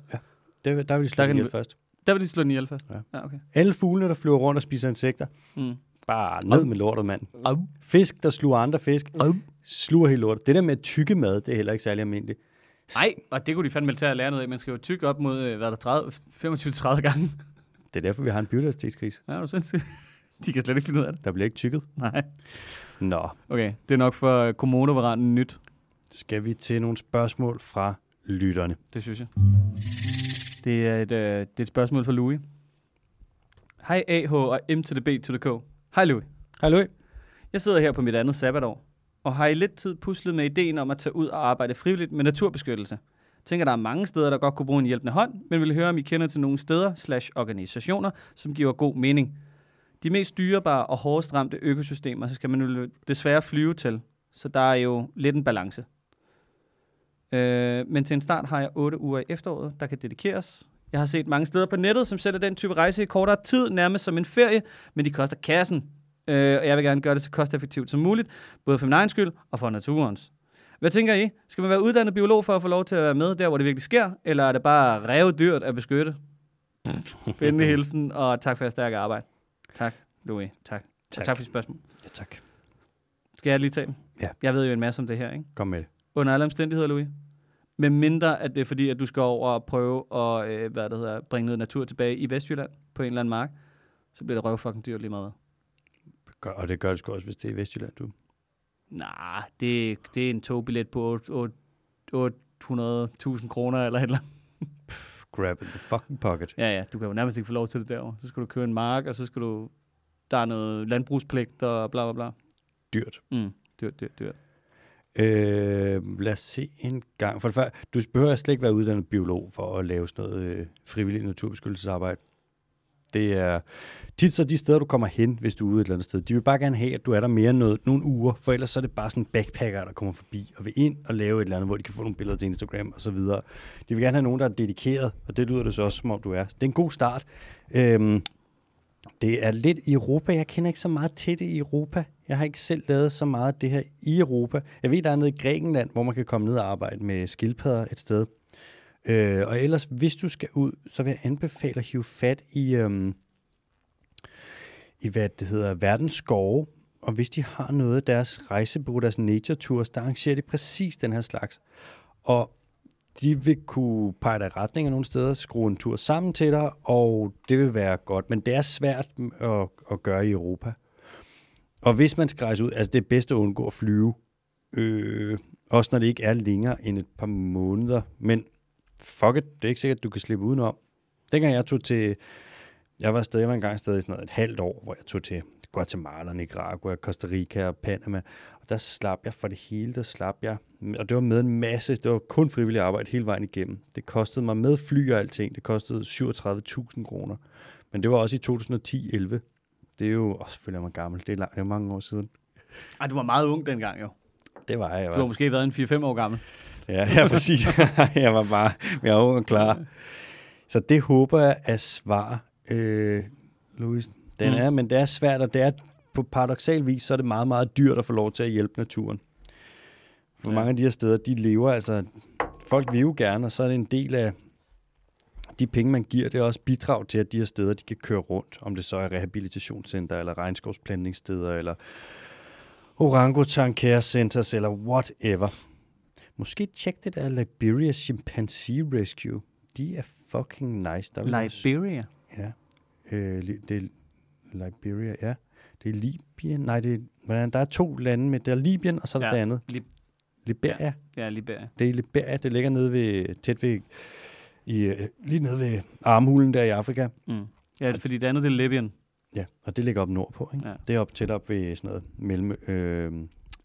A: Der, der vil de slå
B: Der
A: den
B: kan
A: ihjel
B: den-
A: først.
B: Der vil de slå den ihjel først.
A: Ja.
B: ja okay.
A: Alle fuglene, der flyver rundt og spiser insekter,
B: Mm.
A: bare ned med lortet, mand.
B: Au.
A: Fisk, der sluger andre fisk,
B: Au.
A: sluger helt lortet. Det der med at tykke mad, det er heller ikke særlig almindeligt.
B: Nej, og det kunne de fandme tage at lære noget af. Man skal jo tykke op mod, øh, hvad er der, 25-30 gange.
A: Det er derfor, vi har en biodiversitetskrise.
B: Ja, er du sindssyg? De kan slet ikke finde ud af det.
A: Der bliver ikke tykket.
B: Nej.
A: Nå,
B: Okay, det er nok for komodo-varanen nyt,
A: skal vi til nogle spørgsmål fra lytterne.
B: det synes jeg. Det er et, øh, det er et spørgsmål fra Louis. Hej AH og M til the B to the K. Hej Louis.
A: Hallo.
B: Jeg sidder her på mit andet sabbatår, og har i lidt tid puslet med ideen om at tage ud og arbejde frivilligt med naturbeskyttelse. Tænker, der er mange steder, der godt kunne bruge en hjælpende hånd, men vil høre, om I kender til nogle steder slash organisationer, som giver god mening. De mest dyrebare og hårdest ramte økosystemer, så skal man jo desværre flyve til, så der er jo lidt en balance. Øh, men til en start har jeg 8 uger i efteråret, der kan dedikeres. Jeg har set mange steder på nettet, som sætter den type rejse i kortere tid, nærmest som en ferie, men de koster kassen. Øh, og jeg vil gerne gøre det så kosteffektivt som muligt, både for min egen skyld og for naturens. Hvad tænker I? Skal man være uddannet biolog for at få lov til at være med der, hvor det virkelig sker? Eller er det bare revdyrt at beskytte? Venlig hilsen, og tak for jeres stærke arbejde. Tak, Louis. Tak. Tak, og tak for dit spørgsmål.
A: Ja, tak.
B: Skal jeg lige tale?
A: Ja.
B: Jeg ved jo en masse om det her, ikke?
A: Kom med det.
B: under alle omstændigheder, Louis. Med mindre, at det er fordi, at du skal over og prøve at øh, hvad det hedder, bringe noget natur tilbage i Vestjylland på en eller anden mark, så bliver det røvfucking dyrt lige meget. hvad.
A: Gør- Og det gør det sgu også, hvis det er i Vestjylland, du.
B: Nej, det, det er en togbillet på otte- otte- 800.000 kroner eller et eller andet.
A: Grab in the fucking pocket.
B: Ja, ja, du kan jo nærmest ikke få lov til det derovre. Så skal du købe en mark, og så skal du... Der er noget landbrugspligt og bla bla bla.
A: Dyrt.
B: Mm. Dyrt, dyrt, dyrt.
A: Øh, lad os se en gang. For det første, du behøver slet ikke være uddannet biolog for at lave sådan noget øh, frivillig naturbeskyttelsesarbejde. Det er tit så de steder, du kommer hen, hvis du er ude et eller andet sted. De vil bare gerne have, at du er der mere end noget, nogle uger, for ellers så er det bare sådan backpacker, der kommer forbi og vil ind og lave et eller andet, hvor de kan få nogle billeder til Instagram og så videre. De vil gerne have nogen, der er dedikeret, og det lyder det så også, som om du er. Så det er en god start. Øhm, det er lidt i Europa. Jeg kender ikke så meget til det i Europa. Jeg har ikke selv lavet så meget af det her i Europa. Jeg ved, der er noget i Grækenland, hvor man kan komme ned og arbejde med skildpadder et sted. Øh, og ellers, hvis du skal ud, så vil jeg anbefale at hive fat i, øhm, i hvad det hedder, verdens skove. Og hvis de har noget af deres rejsebureau, deres nature tours, der arrangerer de præcis den her slags. Og de vil kunne pege dig i retninger nogle steder, skrue en tur sammen til dig, og det vil være godt. Men det er svært at, at gøre i Europa. Og hvis man skal rejse ud, altså det er bedst at undgå at flyve. Øh, også når det ikke er længere end et par måneder. Men fuck it, det er ikke sikkert, at du kan slippe udenom. Dengang jeg tog til... Jeg var stadig, jeg var engang stadig sådan noget, et halvt år, hvor jeg tog til Guatemala, Nicaragua, Costa Rica og Panama. Og der slap jeg for det hele, der slap jeg. Og det var med en masse, det var kun frivilligt arbejde hele vejen igennem. Det kostede mig med fly og alting, det kostede 37.000 kroner. Men det var også i 2010-11. Det er jo, åh, selvfølgelig er man gammel, det er, lang, det er mange år siden.
B: Ej, du var meget ung dengang jo.
A: Det var jeg. jeg
B: Du har
A: var.
B: måske været en 4-5 år gammel.
A: Ja, ja, præcis. jeg var bare, jeg var ung og klar. Så det håber jeg er svar, øh, Louis. Den
B: Mm.
A: er, men det er svært, og det er på paradoxal vis, så er det meget, meget dyrt at få lov til at hjælpe naturen. For ja.
B: Ja.
A: mange af de her steder, de lever, altså folk vil jo gerne, og så er det en del af de penge, man giver, det er også bidrag til, at de her steder, de kan køre rundt, om det så er rehabilitationscenter, eller regnskovsplantingssteder, eller orangutan care centers, eller whatever. Måske tjek det der Liberia Chimpanzee Rescue. De er fucking nice. Der vil jeg også-
B: Liberia.
A: Ja. Øh, li- det er Liberia, ja. Det er Libyen. Nej, det er, hvordan, der er to lande med. Der er Libyen, og så er der
B: Ja,
A: det andet.
B: Lib-
A: Liberia. Ja.
B: Ja, Liberia.
A: Det er i Liberia. Det ligger nede ved, tæt ved, i, øh, lige nede ved armhulen der i Afrika.
B: Mm. Ja, fordi det andet det er Libyen.
A: Ja, og det ligger op nordpå. Ikke?
B: Ja.
A: Ja. Det er op tæt op ved sådan noget mellem... Øh,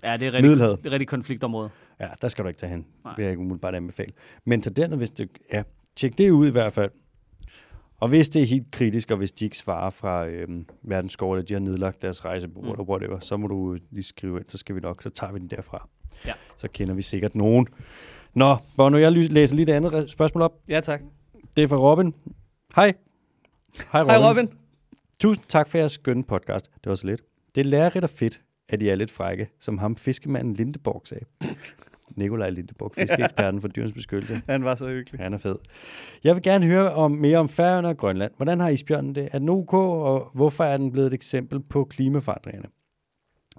B: Ja, det er rigtig,
A: Middelhavet.
B: det er rigtig konfliktområde.
A: Ja, der skal du ikke tage hen.
B: Nej.
A: Det vil jeg ikke umiddelbart anbefale. Men så dernede, hvis du... Ja, tjek det ud i hvert fald. Og hvis det er helt kritisk, og hvis de ikke svarer fra øhm, verdens skov, eller de har nedlagt deres rejsebureau,
B: Mm.
A: mm. eller whatever, så må du lige skrive ind, så skal vi nok, så tager vi den derfra.
B: Ja.
A: Så kender vi sikkert nogen. Nå, Bono, jeg lys- læser lige det andet re- spørgsmål op.
B: Ja, tak.
A: Det er fra Robin. Hej. Hej
B: Hej Robin.
A: Tusind tak for jeres skønne podcast. Det var så lidt. Det er lærerigt og fedt, at I er lidt frække, som ham fiskemanden Lindeborg sagde. Nikolaj Lindeborg, fiskeeksperten for dyrens beskyttelse.
B: Han var så hyggelig.
A: Han er fed. Jeg vil gerne høre om, mere om Færøerne og Grønland. Hvordan har isbjørnen det? Er den OK, og hvorfor er den blevet et eksempel på klimaforandringerne?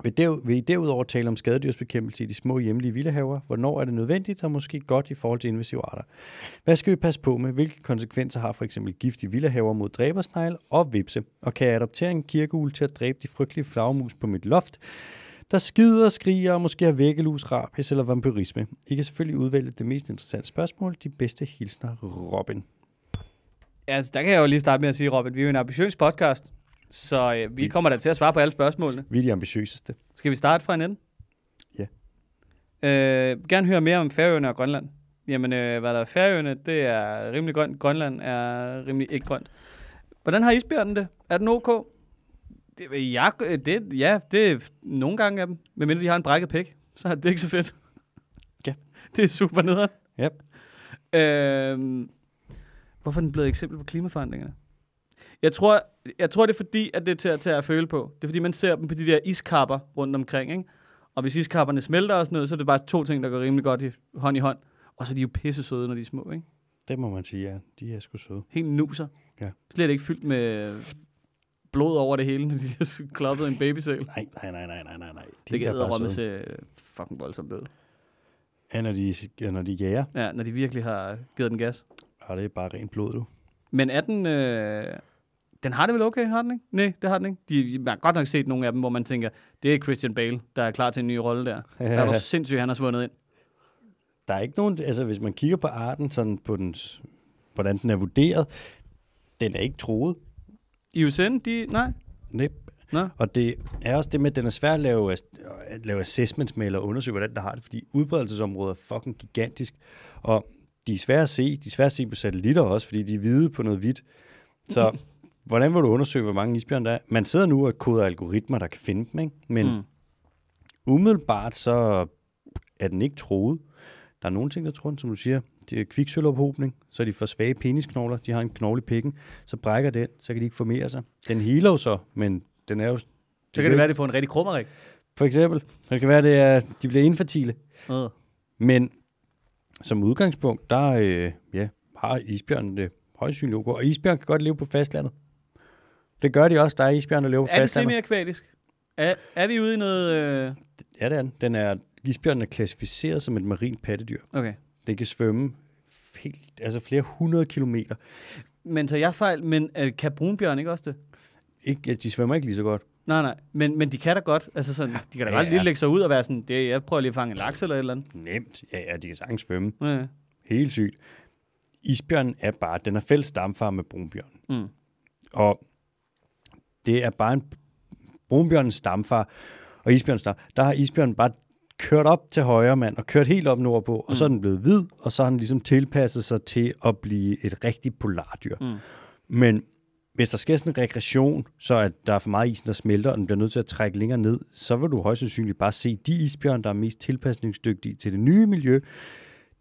A: Vil, der, vil I derudover tale om skadedyrsbekæmpelse i de små hjemlige villahaver? Hvornår er det nødvendigt og måske godt i forhold til invasive arter? Hvad skal vi passe på med? Hvilke konsekvenser har for eksempel gift i villahaver mod dræbersnegle og vipse? Og kan jeg adoptere en kirkeul til at dræbe de frygtelige flagmus på mit loft? der skider og skriger og måske har væggelus, rabies eller vampyrisme. I kan selvfølgelig udvælge det mest interessante spørgsmål. De bedste hilsner, Robin.
B: Ja, altså, der kan jeg jo lige starte med at sige, Robin, vi er jo en ambitiøs podcast, så øh, vi kommer da til at svare på alle spørgsmålene.
A: Vi er de ambitiøseste.
B: Skal vi starte fra en ende?
A: Ja.
B: Øh, gerne høre mere om Færøerne og Grønland. Jamen, øh, hvad der er Færøerne, det er rimelig grønt. Grønland er rimelig ikke grønt. Hvordan har isbjørnen det? Er den ok? Det, jeg, øh, det, ja, det er nogle gange af dem. Medmindre de har en brækket pæk, så er det ikke så fedt.
A: Ja.
B: Det er super nederen.
A: Ja.
B: Øh, hvorfor er den blevet et eksempel på klimaforandringerne? Jeg tror, jeg tror, det er fordi, at det er til at tage at føle på. Det er fordi, man ser dem på de der iskapper rundt omkring, ikke? Og hvis iskapperne smelter og sådan noget, så er det bare to ting, der går rimelig godt i, hånd i hånd. Og så er de jo pisse søde, når de er små, ikke?
A: Det må man sige, ja. De er sgu søde.
B: Helt nuser.
A: Ja.
B: Slet ikke fyldt med blod over det hele, når de har klappet en babysæl.
A: Nej, nej, nej, nej, nej, nej. nej. De
B: det kan øh,
A: er bare
B: æderrømme
A: søde.
B: se fucking voldsomt ud.
A: Ja, når de, ja, når de jager.
B: Ja, når de virkelig har givet den gas.
A: Ja, det er bare rent blod, du.
B: Men er den... Øh, den har det vel okay, har den ikke? Nej, det har den ikke. De, man har godt nok set nogle af dem, hvor man tænker, det er Christian Bale, der er klar til en ny rolle der. Ja. Der er du sindssygt, han har svundet ind.
A: Der er ikke nogen, altså hvis man kigger på arten, sådan på dens, hvordan den er vurderet, den er ikke troet.
B: IUCN, de... Nej.
A: Nej.
B: Nå.
A: Og det er også det med, at den er svær at lave, at lave assessments med, eller undersøge, hvordan der har det, fordi udbredelsesområdet er fucking gigantisk. Og de er svære at se. De er svære at se på satellitter også, fordi de er hvide på noget hvidt. Så hvordan vil du undersøge, hvor mange isbjørn der er? Man sidder nu og koder algoritmer, der kan finde dem, ikke? Men mm.
B: Mm.
A: umiddelbart så er den ikke troet. Der er nogle ting, der tror den, som du siger. Det er kviksølvophobning, så er de for svage penisknogler. De har en knogle i pikken, så brækker den, så kan de ikke formere sig. Den healer jo så, men den er jo...
B: Så kan det være, at de får en rigtig krummerik.
A: For eksempel. Så det kan være, det er, de bliver infertile.
B: Øh.
A: Men som udgangspunkt, der øh, ja, har isbjørnen det højst synligt ok. Og isbjørn kan godt leve på fastlandet. Det gør de også. Der er isbjørn, der lever på
B: Er det
A: fastlandet.
B: semi-akvatisk? Er, er vi ude i noget... Øh...
A: Ja, det er den. den er, isbjørnen er klassificeret som et marin pattedyr.
B: Okay.
A: Den kan svømme helt, altså flere hundrede kilometer.
B: Men tager jeg fejl, men øh, kan brunbjørn ikke også det?
A: Ikke, ja, de svømmer ikke lige så godt.
B: Nej, nej, men, men de kan da godt. Altså sådan, de kan da
A: Ja,
B: godt lige
A: ja.
B: lægge sig ud og være sådan, det, jeg prøver lige at fange en laks eller et eller andet.
A: Nemt. Ja, ja, de kan sagtens svømme.
B: Ja, ja.
A: Helt sygt. Isbjørnen er bare, den er fælles stamfar med brunbjørn.
B: Mm.
A: Og det er bare en brunbjørnens stamfar og isbjørnens stamfar. Der har isbjørnen bare kørt op til højre mand og kørt helt op nordpå, og så er den blevet hvid, og så har den ligesom tilpasset sig til at blive et rigtigt polardyr. Mm. Men hvis der sker sådan en regression, så at der er for meget isen, der smelter, og den bliver nødt til at trække længere ned, så vil du højst sandsynligt bare se de isbjørn, der er mest tilpasningsdygtige til det nye miljø,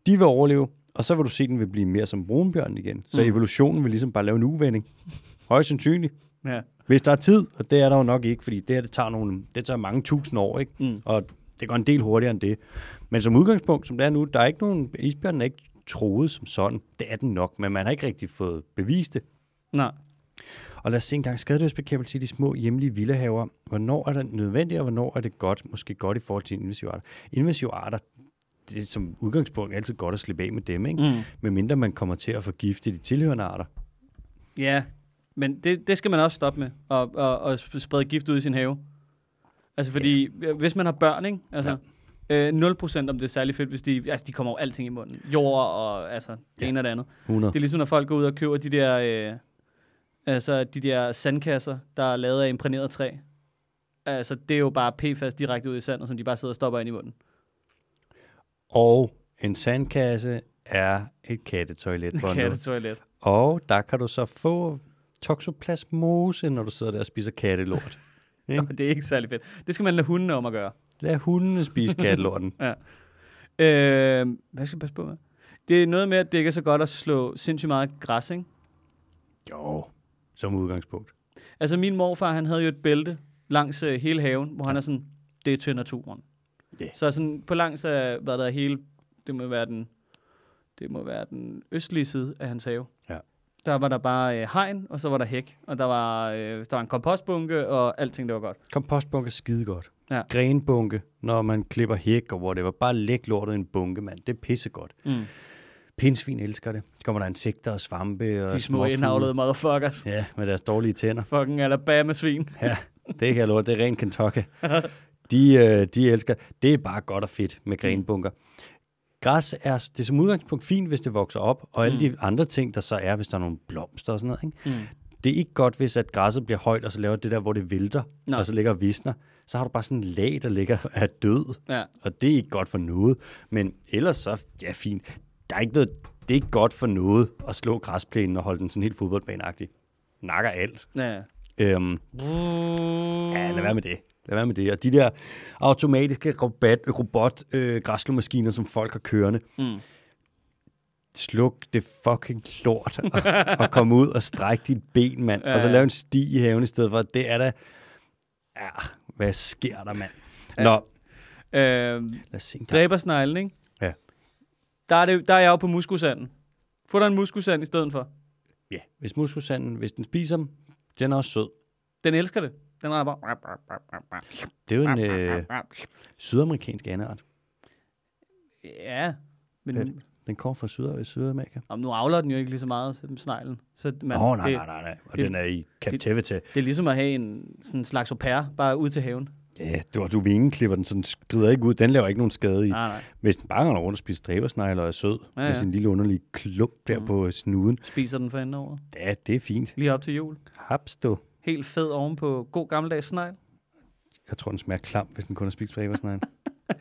A: de vil overleve, og så vil du se, at den vil blive mere som brunbjørn igen. Så mm. evolutionen vil ligesom bare lave en uvending. Højst sandsynligt.
B: ja.
A: Hvis der er tid, og det er der jo nok ikke, fordi det her, det tager, nogle, det tager mange tusind år, ikke? Mm. og det går en del hurtigere end det. Men som udgangspunkt, som det er nu, der er ikke nogen, isbjørnen er ikke troet som sådan. Det er den nok, men man har ikke rigtig fået bevist det.
B: Nej.
A: Og lad os se engang skadedyrsbekæmpelse i de små hjemlige villahaver. Hvornår er det nødvendigt, og hvornår er det godt? Måske godt i forhold til invasive arter. Invasive arter, det er som udgangspunkt altid godt at slippe af med dem, ikke? Mm. Medmindre man kommer til at forgifte de tilhørende arter.
B: Ja, men det, det skal man også stoppe med, og, og, og sp- sprede gift ud i sin have. Altså fordi, ja. hvis man har børn, ikke? Altså, ja. øh, 0% om det er særlig fedt, hvis de, altså de kommer over alting i munden. Jord og altså, det ja.
A: Ja.
B: ene og det andet.
A: 100.
B: Det er ligesom, når folk går ud og køber de der, øh, altså, de der sandkasser, der er lavet af imprægneret træ. Altså, det er jo bare PFAS direkte ud i sandet, som de bare sidder og stopper ind i munden.
A: Og en sandkasse er et kattetoilet for nu.
B: Kattetoilet.
A: Og der kan du så få toxoplasmose, når du sidder der og spiser kattelort.
B: Nå, det er ikke særlig fedt. Det skal man lade hundene om at gøre.
A: Lad hundene spise kattelorten.
B: Øh, hvad skal jeg passe på med? Det er noget med, at det ikke er så godt at slå sindssygt meget græs, ikke?
A: jo, som udgangspunkt.
B: Altså, min morfar, han havde jo et bælte langs øh, hele haven, hvor han er sådan, det er til naturen.
A: Ja.
B: Så sådan på langs af, hvad der er hele, det må være den, det må være den østlige side af hans have.
A: Ja.
B: Der var der bare øh, hegn, og så var der hæk, og der var, øh, der var en kompostbunke, og alting, det var godt.
A: Kompostbunke er skide godt.
B: Ja.
A: Grenbunke, når man klipper hæk og whatever. Bare læg lortet i en bunke, mand. Det er pissegodt.
B: Mm.
A: Pinsvin elsker det. Så kommer der insekter og svampe og
B: De små
A: småfugle.
B: indavlede motherfuckers.
A: Ja, med deres dårlige tænder.
B: Fucking Alabama-svin.
A: Ja, det kan jeg love. Det er ren Kentucky. De, øh, de elsker. Det er bare godt og fedt med grenbunker. Græs er, s- det er som udgangspunkt fint, hvis det vokser op, og alle
B: Mm.
A: de andre ting, der så er, hvis der er nogle blomster og sådan noget. Ikke? Mm. Det er ikke godt, hvis at græsset bliver højt, og så laver det der, hvor det vælter,
B: Nå.
A: og så ligger og visner. Så har du bare sådan en lag, der ligger af død.
B: Ja.
A: Og det er ikke godt for noget. Men ellers så, ja fint. Der er ikke noget, det er ikke godt for noget at slå græsplænen og holde den sådan helt fodboldbaneagtig. Nakker alt.
B: Ja.
A: Øhm, ja, lad være med det. Lad være med det. Og de der automatiske robot, robot øh, græsslåmaskiner, som folk har kørende. Mm. Sluk det fucking lort og, og kom ud og stræk dit ben, mand. Ja. Og så lav en sti i haven i stedet for. Det er da... Ja, hvad sker der, mand? Ja. Nå,
B: Øh,
A: lad os se en gang.
B: dræbersneglen, ikke?
A: Ja.
B: Der er, det, der er jeg jo på muskusanden. Få dig en muskusand i stedet for.
A: Ja, hvis muskelsanden, hvis den spiser dem, den er også sød.
B: Den elsker det. Den er bare...
A: Det er jo en øh, sydamerikansk anart.
B: Ja, men
A: Pet. Den kommer fra Syd- Sydamerika.
B: om, nu avler den jo ikke lige så meget som sneglen. Så man,
A: Åh, oh, nej,
B: det,
A: nej, nej, nej. Og
B: det-
A: den er i captivity.
B: det er ligesom at have en sådan en slags au pair, bare ud til haven.
A: Ja, du, og du vingeklipper den, så den skrider ikke ud. Den laver ikke nogen skade i.
B: Nej, nej.
A: Hvis den bare render rundt og spiser dræbersnegler og er sød, ja,
B: Ja,
A: ja. med
B: ja.
A: sin lille underlige klump der mm. på snuden,
B: Spiser den for enden over.
A: ja, det er fint.
B: Lige op til jul.
A: Haps, du.
B: Helt fed ovenpå god gammeldags snegl.
A: Jeg tror, den smager klam, hvis den kun har spist dræbersnegler.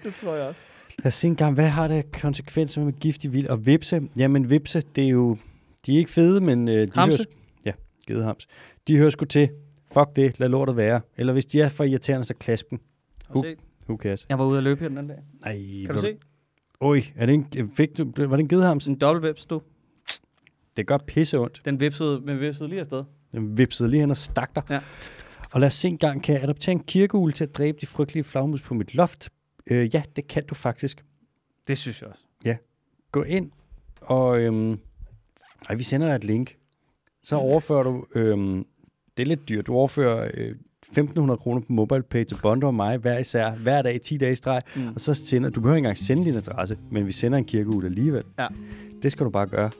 B: det tror jeg også.
A: Lad os se en gang, hvad har det af konsekvenser med giftig vild? Og vipse, jamen vipse, det er jo... De er ikke fede, men øh, de
B: Hamse?
A: hører... sk- Ja, gedehams. De hører sgu til. Fuck det, lad lortet være. Eller hvis de er for irriterende, så klasp dem.
B: Har du
A: Uh.
B: set?
A: Who cares?
B: Jeg var ude at løbe her den anden dag.
A: Ej,
B: Kan du se?
A: Oj, er det en, fik du, var det en gedehams?
B: Sådan en dobbeltvips, du.
A: Det gør pisse ondt.
B: Den vipsede, men vipsede lige afsted.
A: Den vipsede lige hen og stak dig.
B: Ja.
A: Og lad os se en gang, kan jeg adoptere en kirkeugle til at dræbe de frygtelige flagmus på mit loft? Øh, ja, det kan du faktisk.
B: Det synes jeg også.
A: Gå ind, og øhm, ej, vi sender dig et link. Så overfører du, øhm, det er lidt dyrt, du overfører øh, 1.500 kroner på MobilePay til Bondo og mig hver især, hver dag i 10 dage i streg,
B: Mm.
A: og så sender, du behøver ikke engang sende din adresse, men vi sender en kirkeugle alligevel.
B: Ja.
A: Det skal du bare gøre.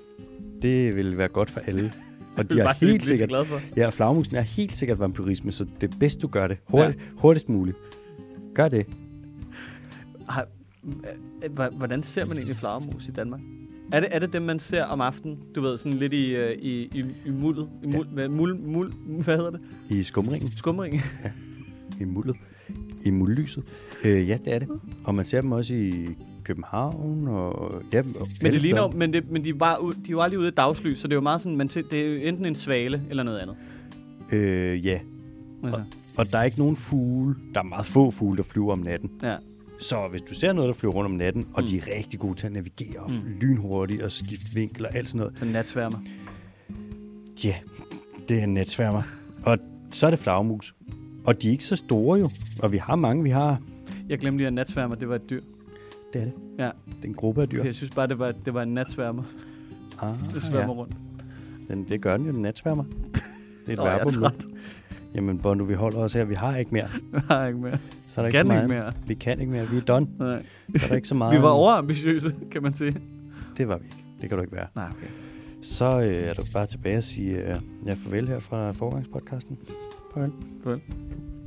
A: Det vil være godt for alle. Og de
B: er
A: har
B: bare
A: helt
B: lige så
A: sikkert
B: glad for.
A: Ja, og flagmusen er helt sikkert vampyrisme, så det er bedst, du gør det hurtigt, ja. hurtigst muligt. Gør det.
B: Har, øh, hva- hvordan ser man egentlig flagermus i Danmark? Er det, er det dem, man ser om aftenen? Du ved, sådan lidt i, øh, i, i, i muldet. I mul, ja. mul, mul, hvad hedder det?
A: I skumringen,
B: Skumring.
A: i muldet, i muldlyset. Øh, ja, det er det. Og man ser dem også i København og... Ja, og
B: men,
A: alle
B: det ligner,
A: steder.
B: men, det, men de, er bare, u- de er jo aldrig ude af dagslys, så det er jo meget sådan, man ser, det er jo enten en svale eller noget andet.
A: Øh, ja,
B: Altså,
A: og der er ikke nogen fugle. Der er meget få fugle, der flyver om natten.
B: ja.
A: Så hvis du ser noget, der flyver rundt om natten,
B: Mm.
A: og de er rigtig gode til at navigere og mm. lynhurtigt og skifte vinkel og alt sådan noget,
B: Sådan natsværmer.
A: Ja, det er en netsværmer. Og så er det flagmus. Og de er ikke så store jo. Og vi har mange, vi har...
B: Jeg glemte lige, at natsværmer, det var et dyr.
A: Det er det.
B: Ja,
A: Det er en gruppe af dyr.
B: for jeg synes bare, det var, det var en natsværmer.
A: Ah,
B: Det sværmer rundt.
A: Den, det gør den jo, den natsværmer. Det er et
B: Nå, jeg er
A: verbum.
B: træt.
A: nu. Jamen, Bondo, vi holder os her. Vi har ikke mere.
B: Jeg har ikke mere.
A: Så er der
B: Kan
A: ikke, så
B: ikke
A: meget.
B: mere.
A: Vi kan ikke mere. Vi er done.
B: Nej.
A: Så er der ikke så meget.
B: Vi var overambitiøse, kan man sige.
A: Det var vi ikke. Det kan du ikke være.
B: Nej, okay.
A: Så øh, er du bare tilbage og sige øh, ja, farvel her fra forgangspodcasten. Farvel.
B: Farvel.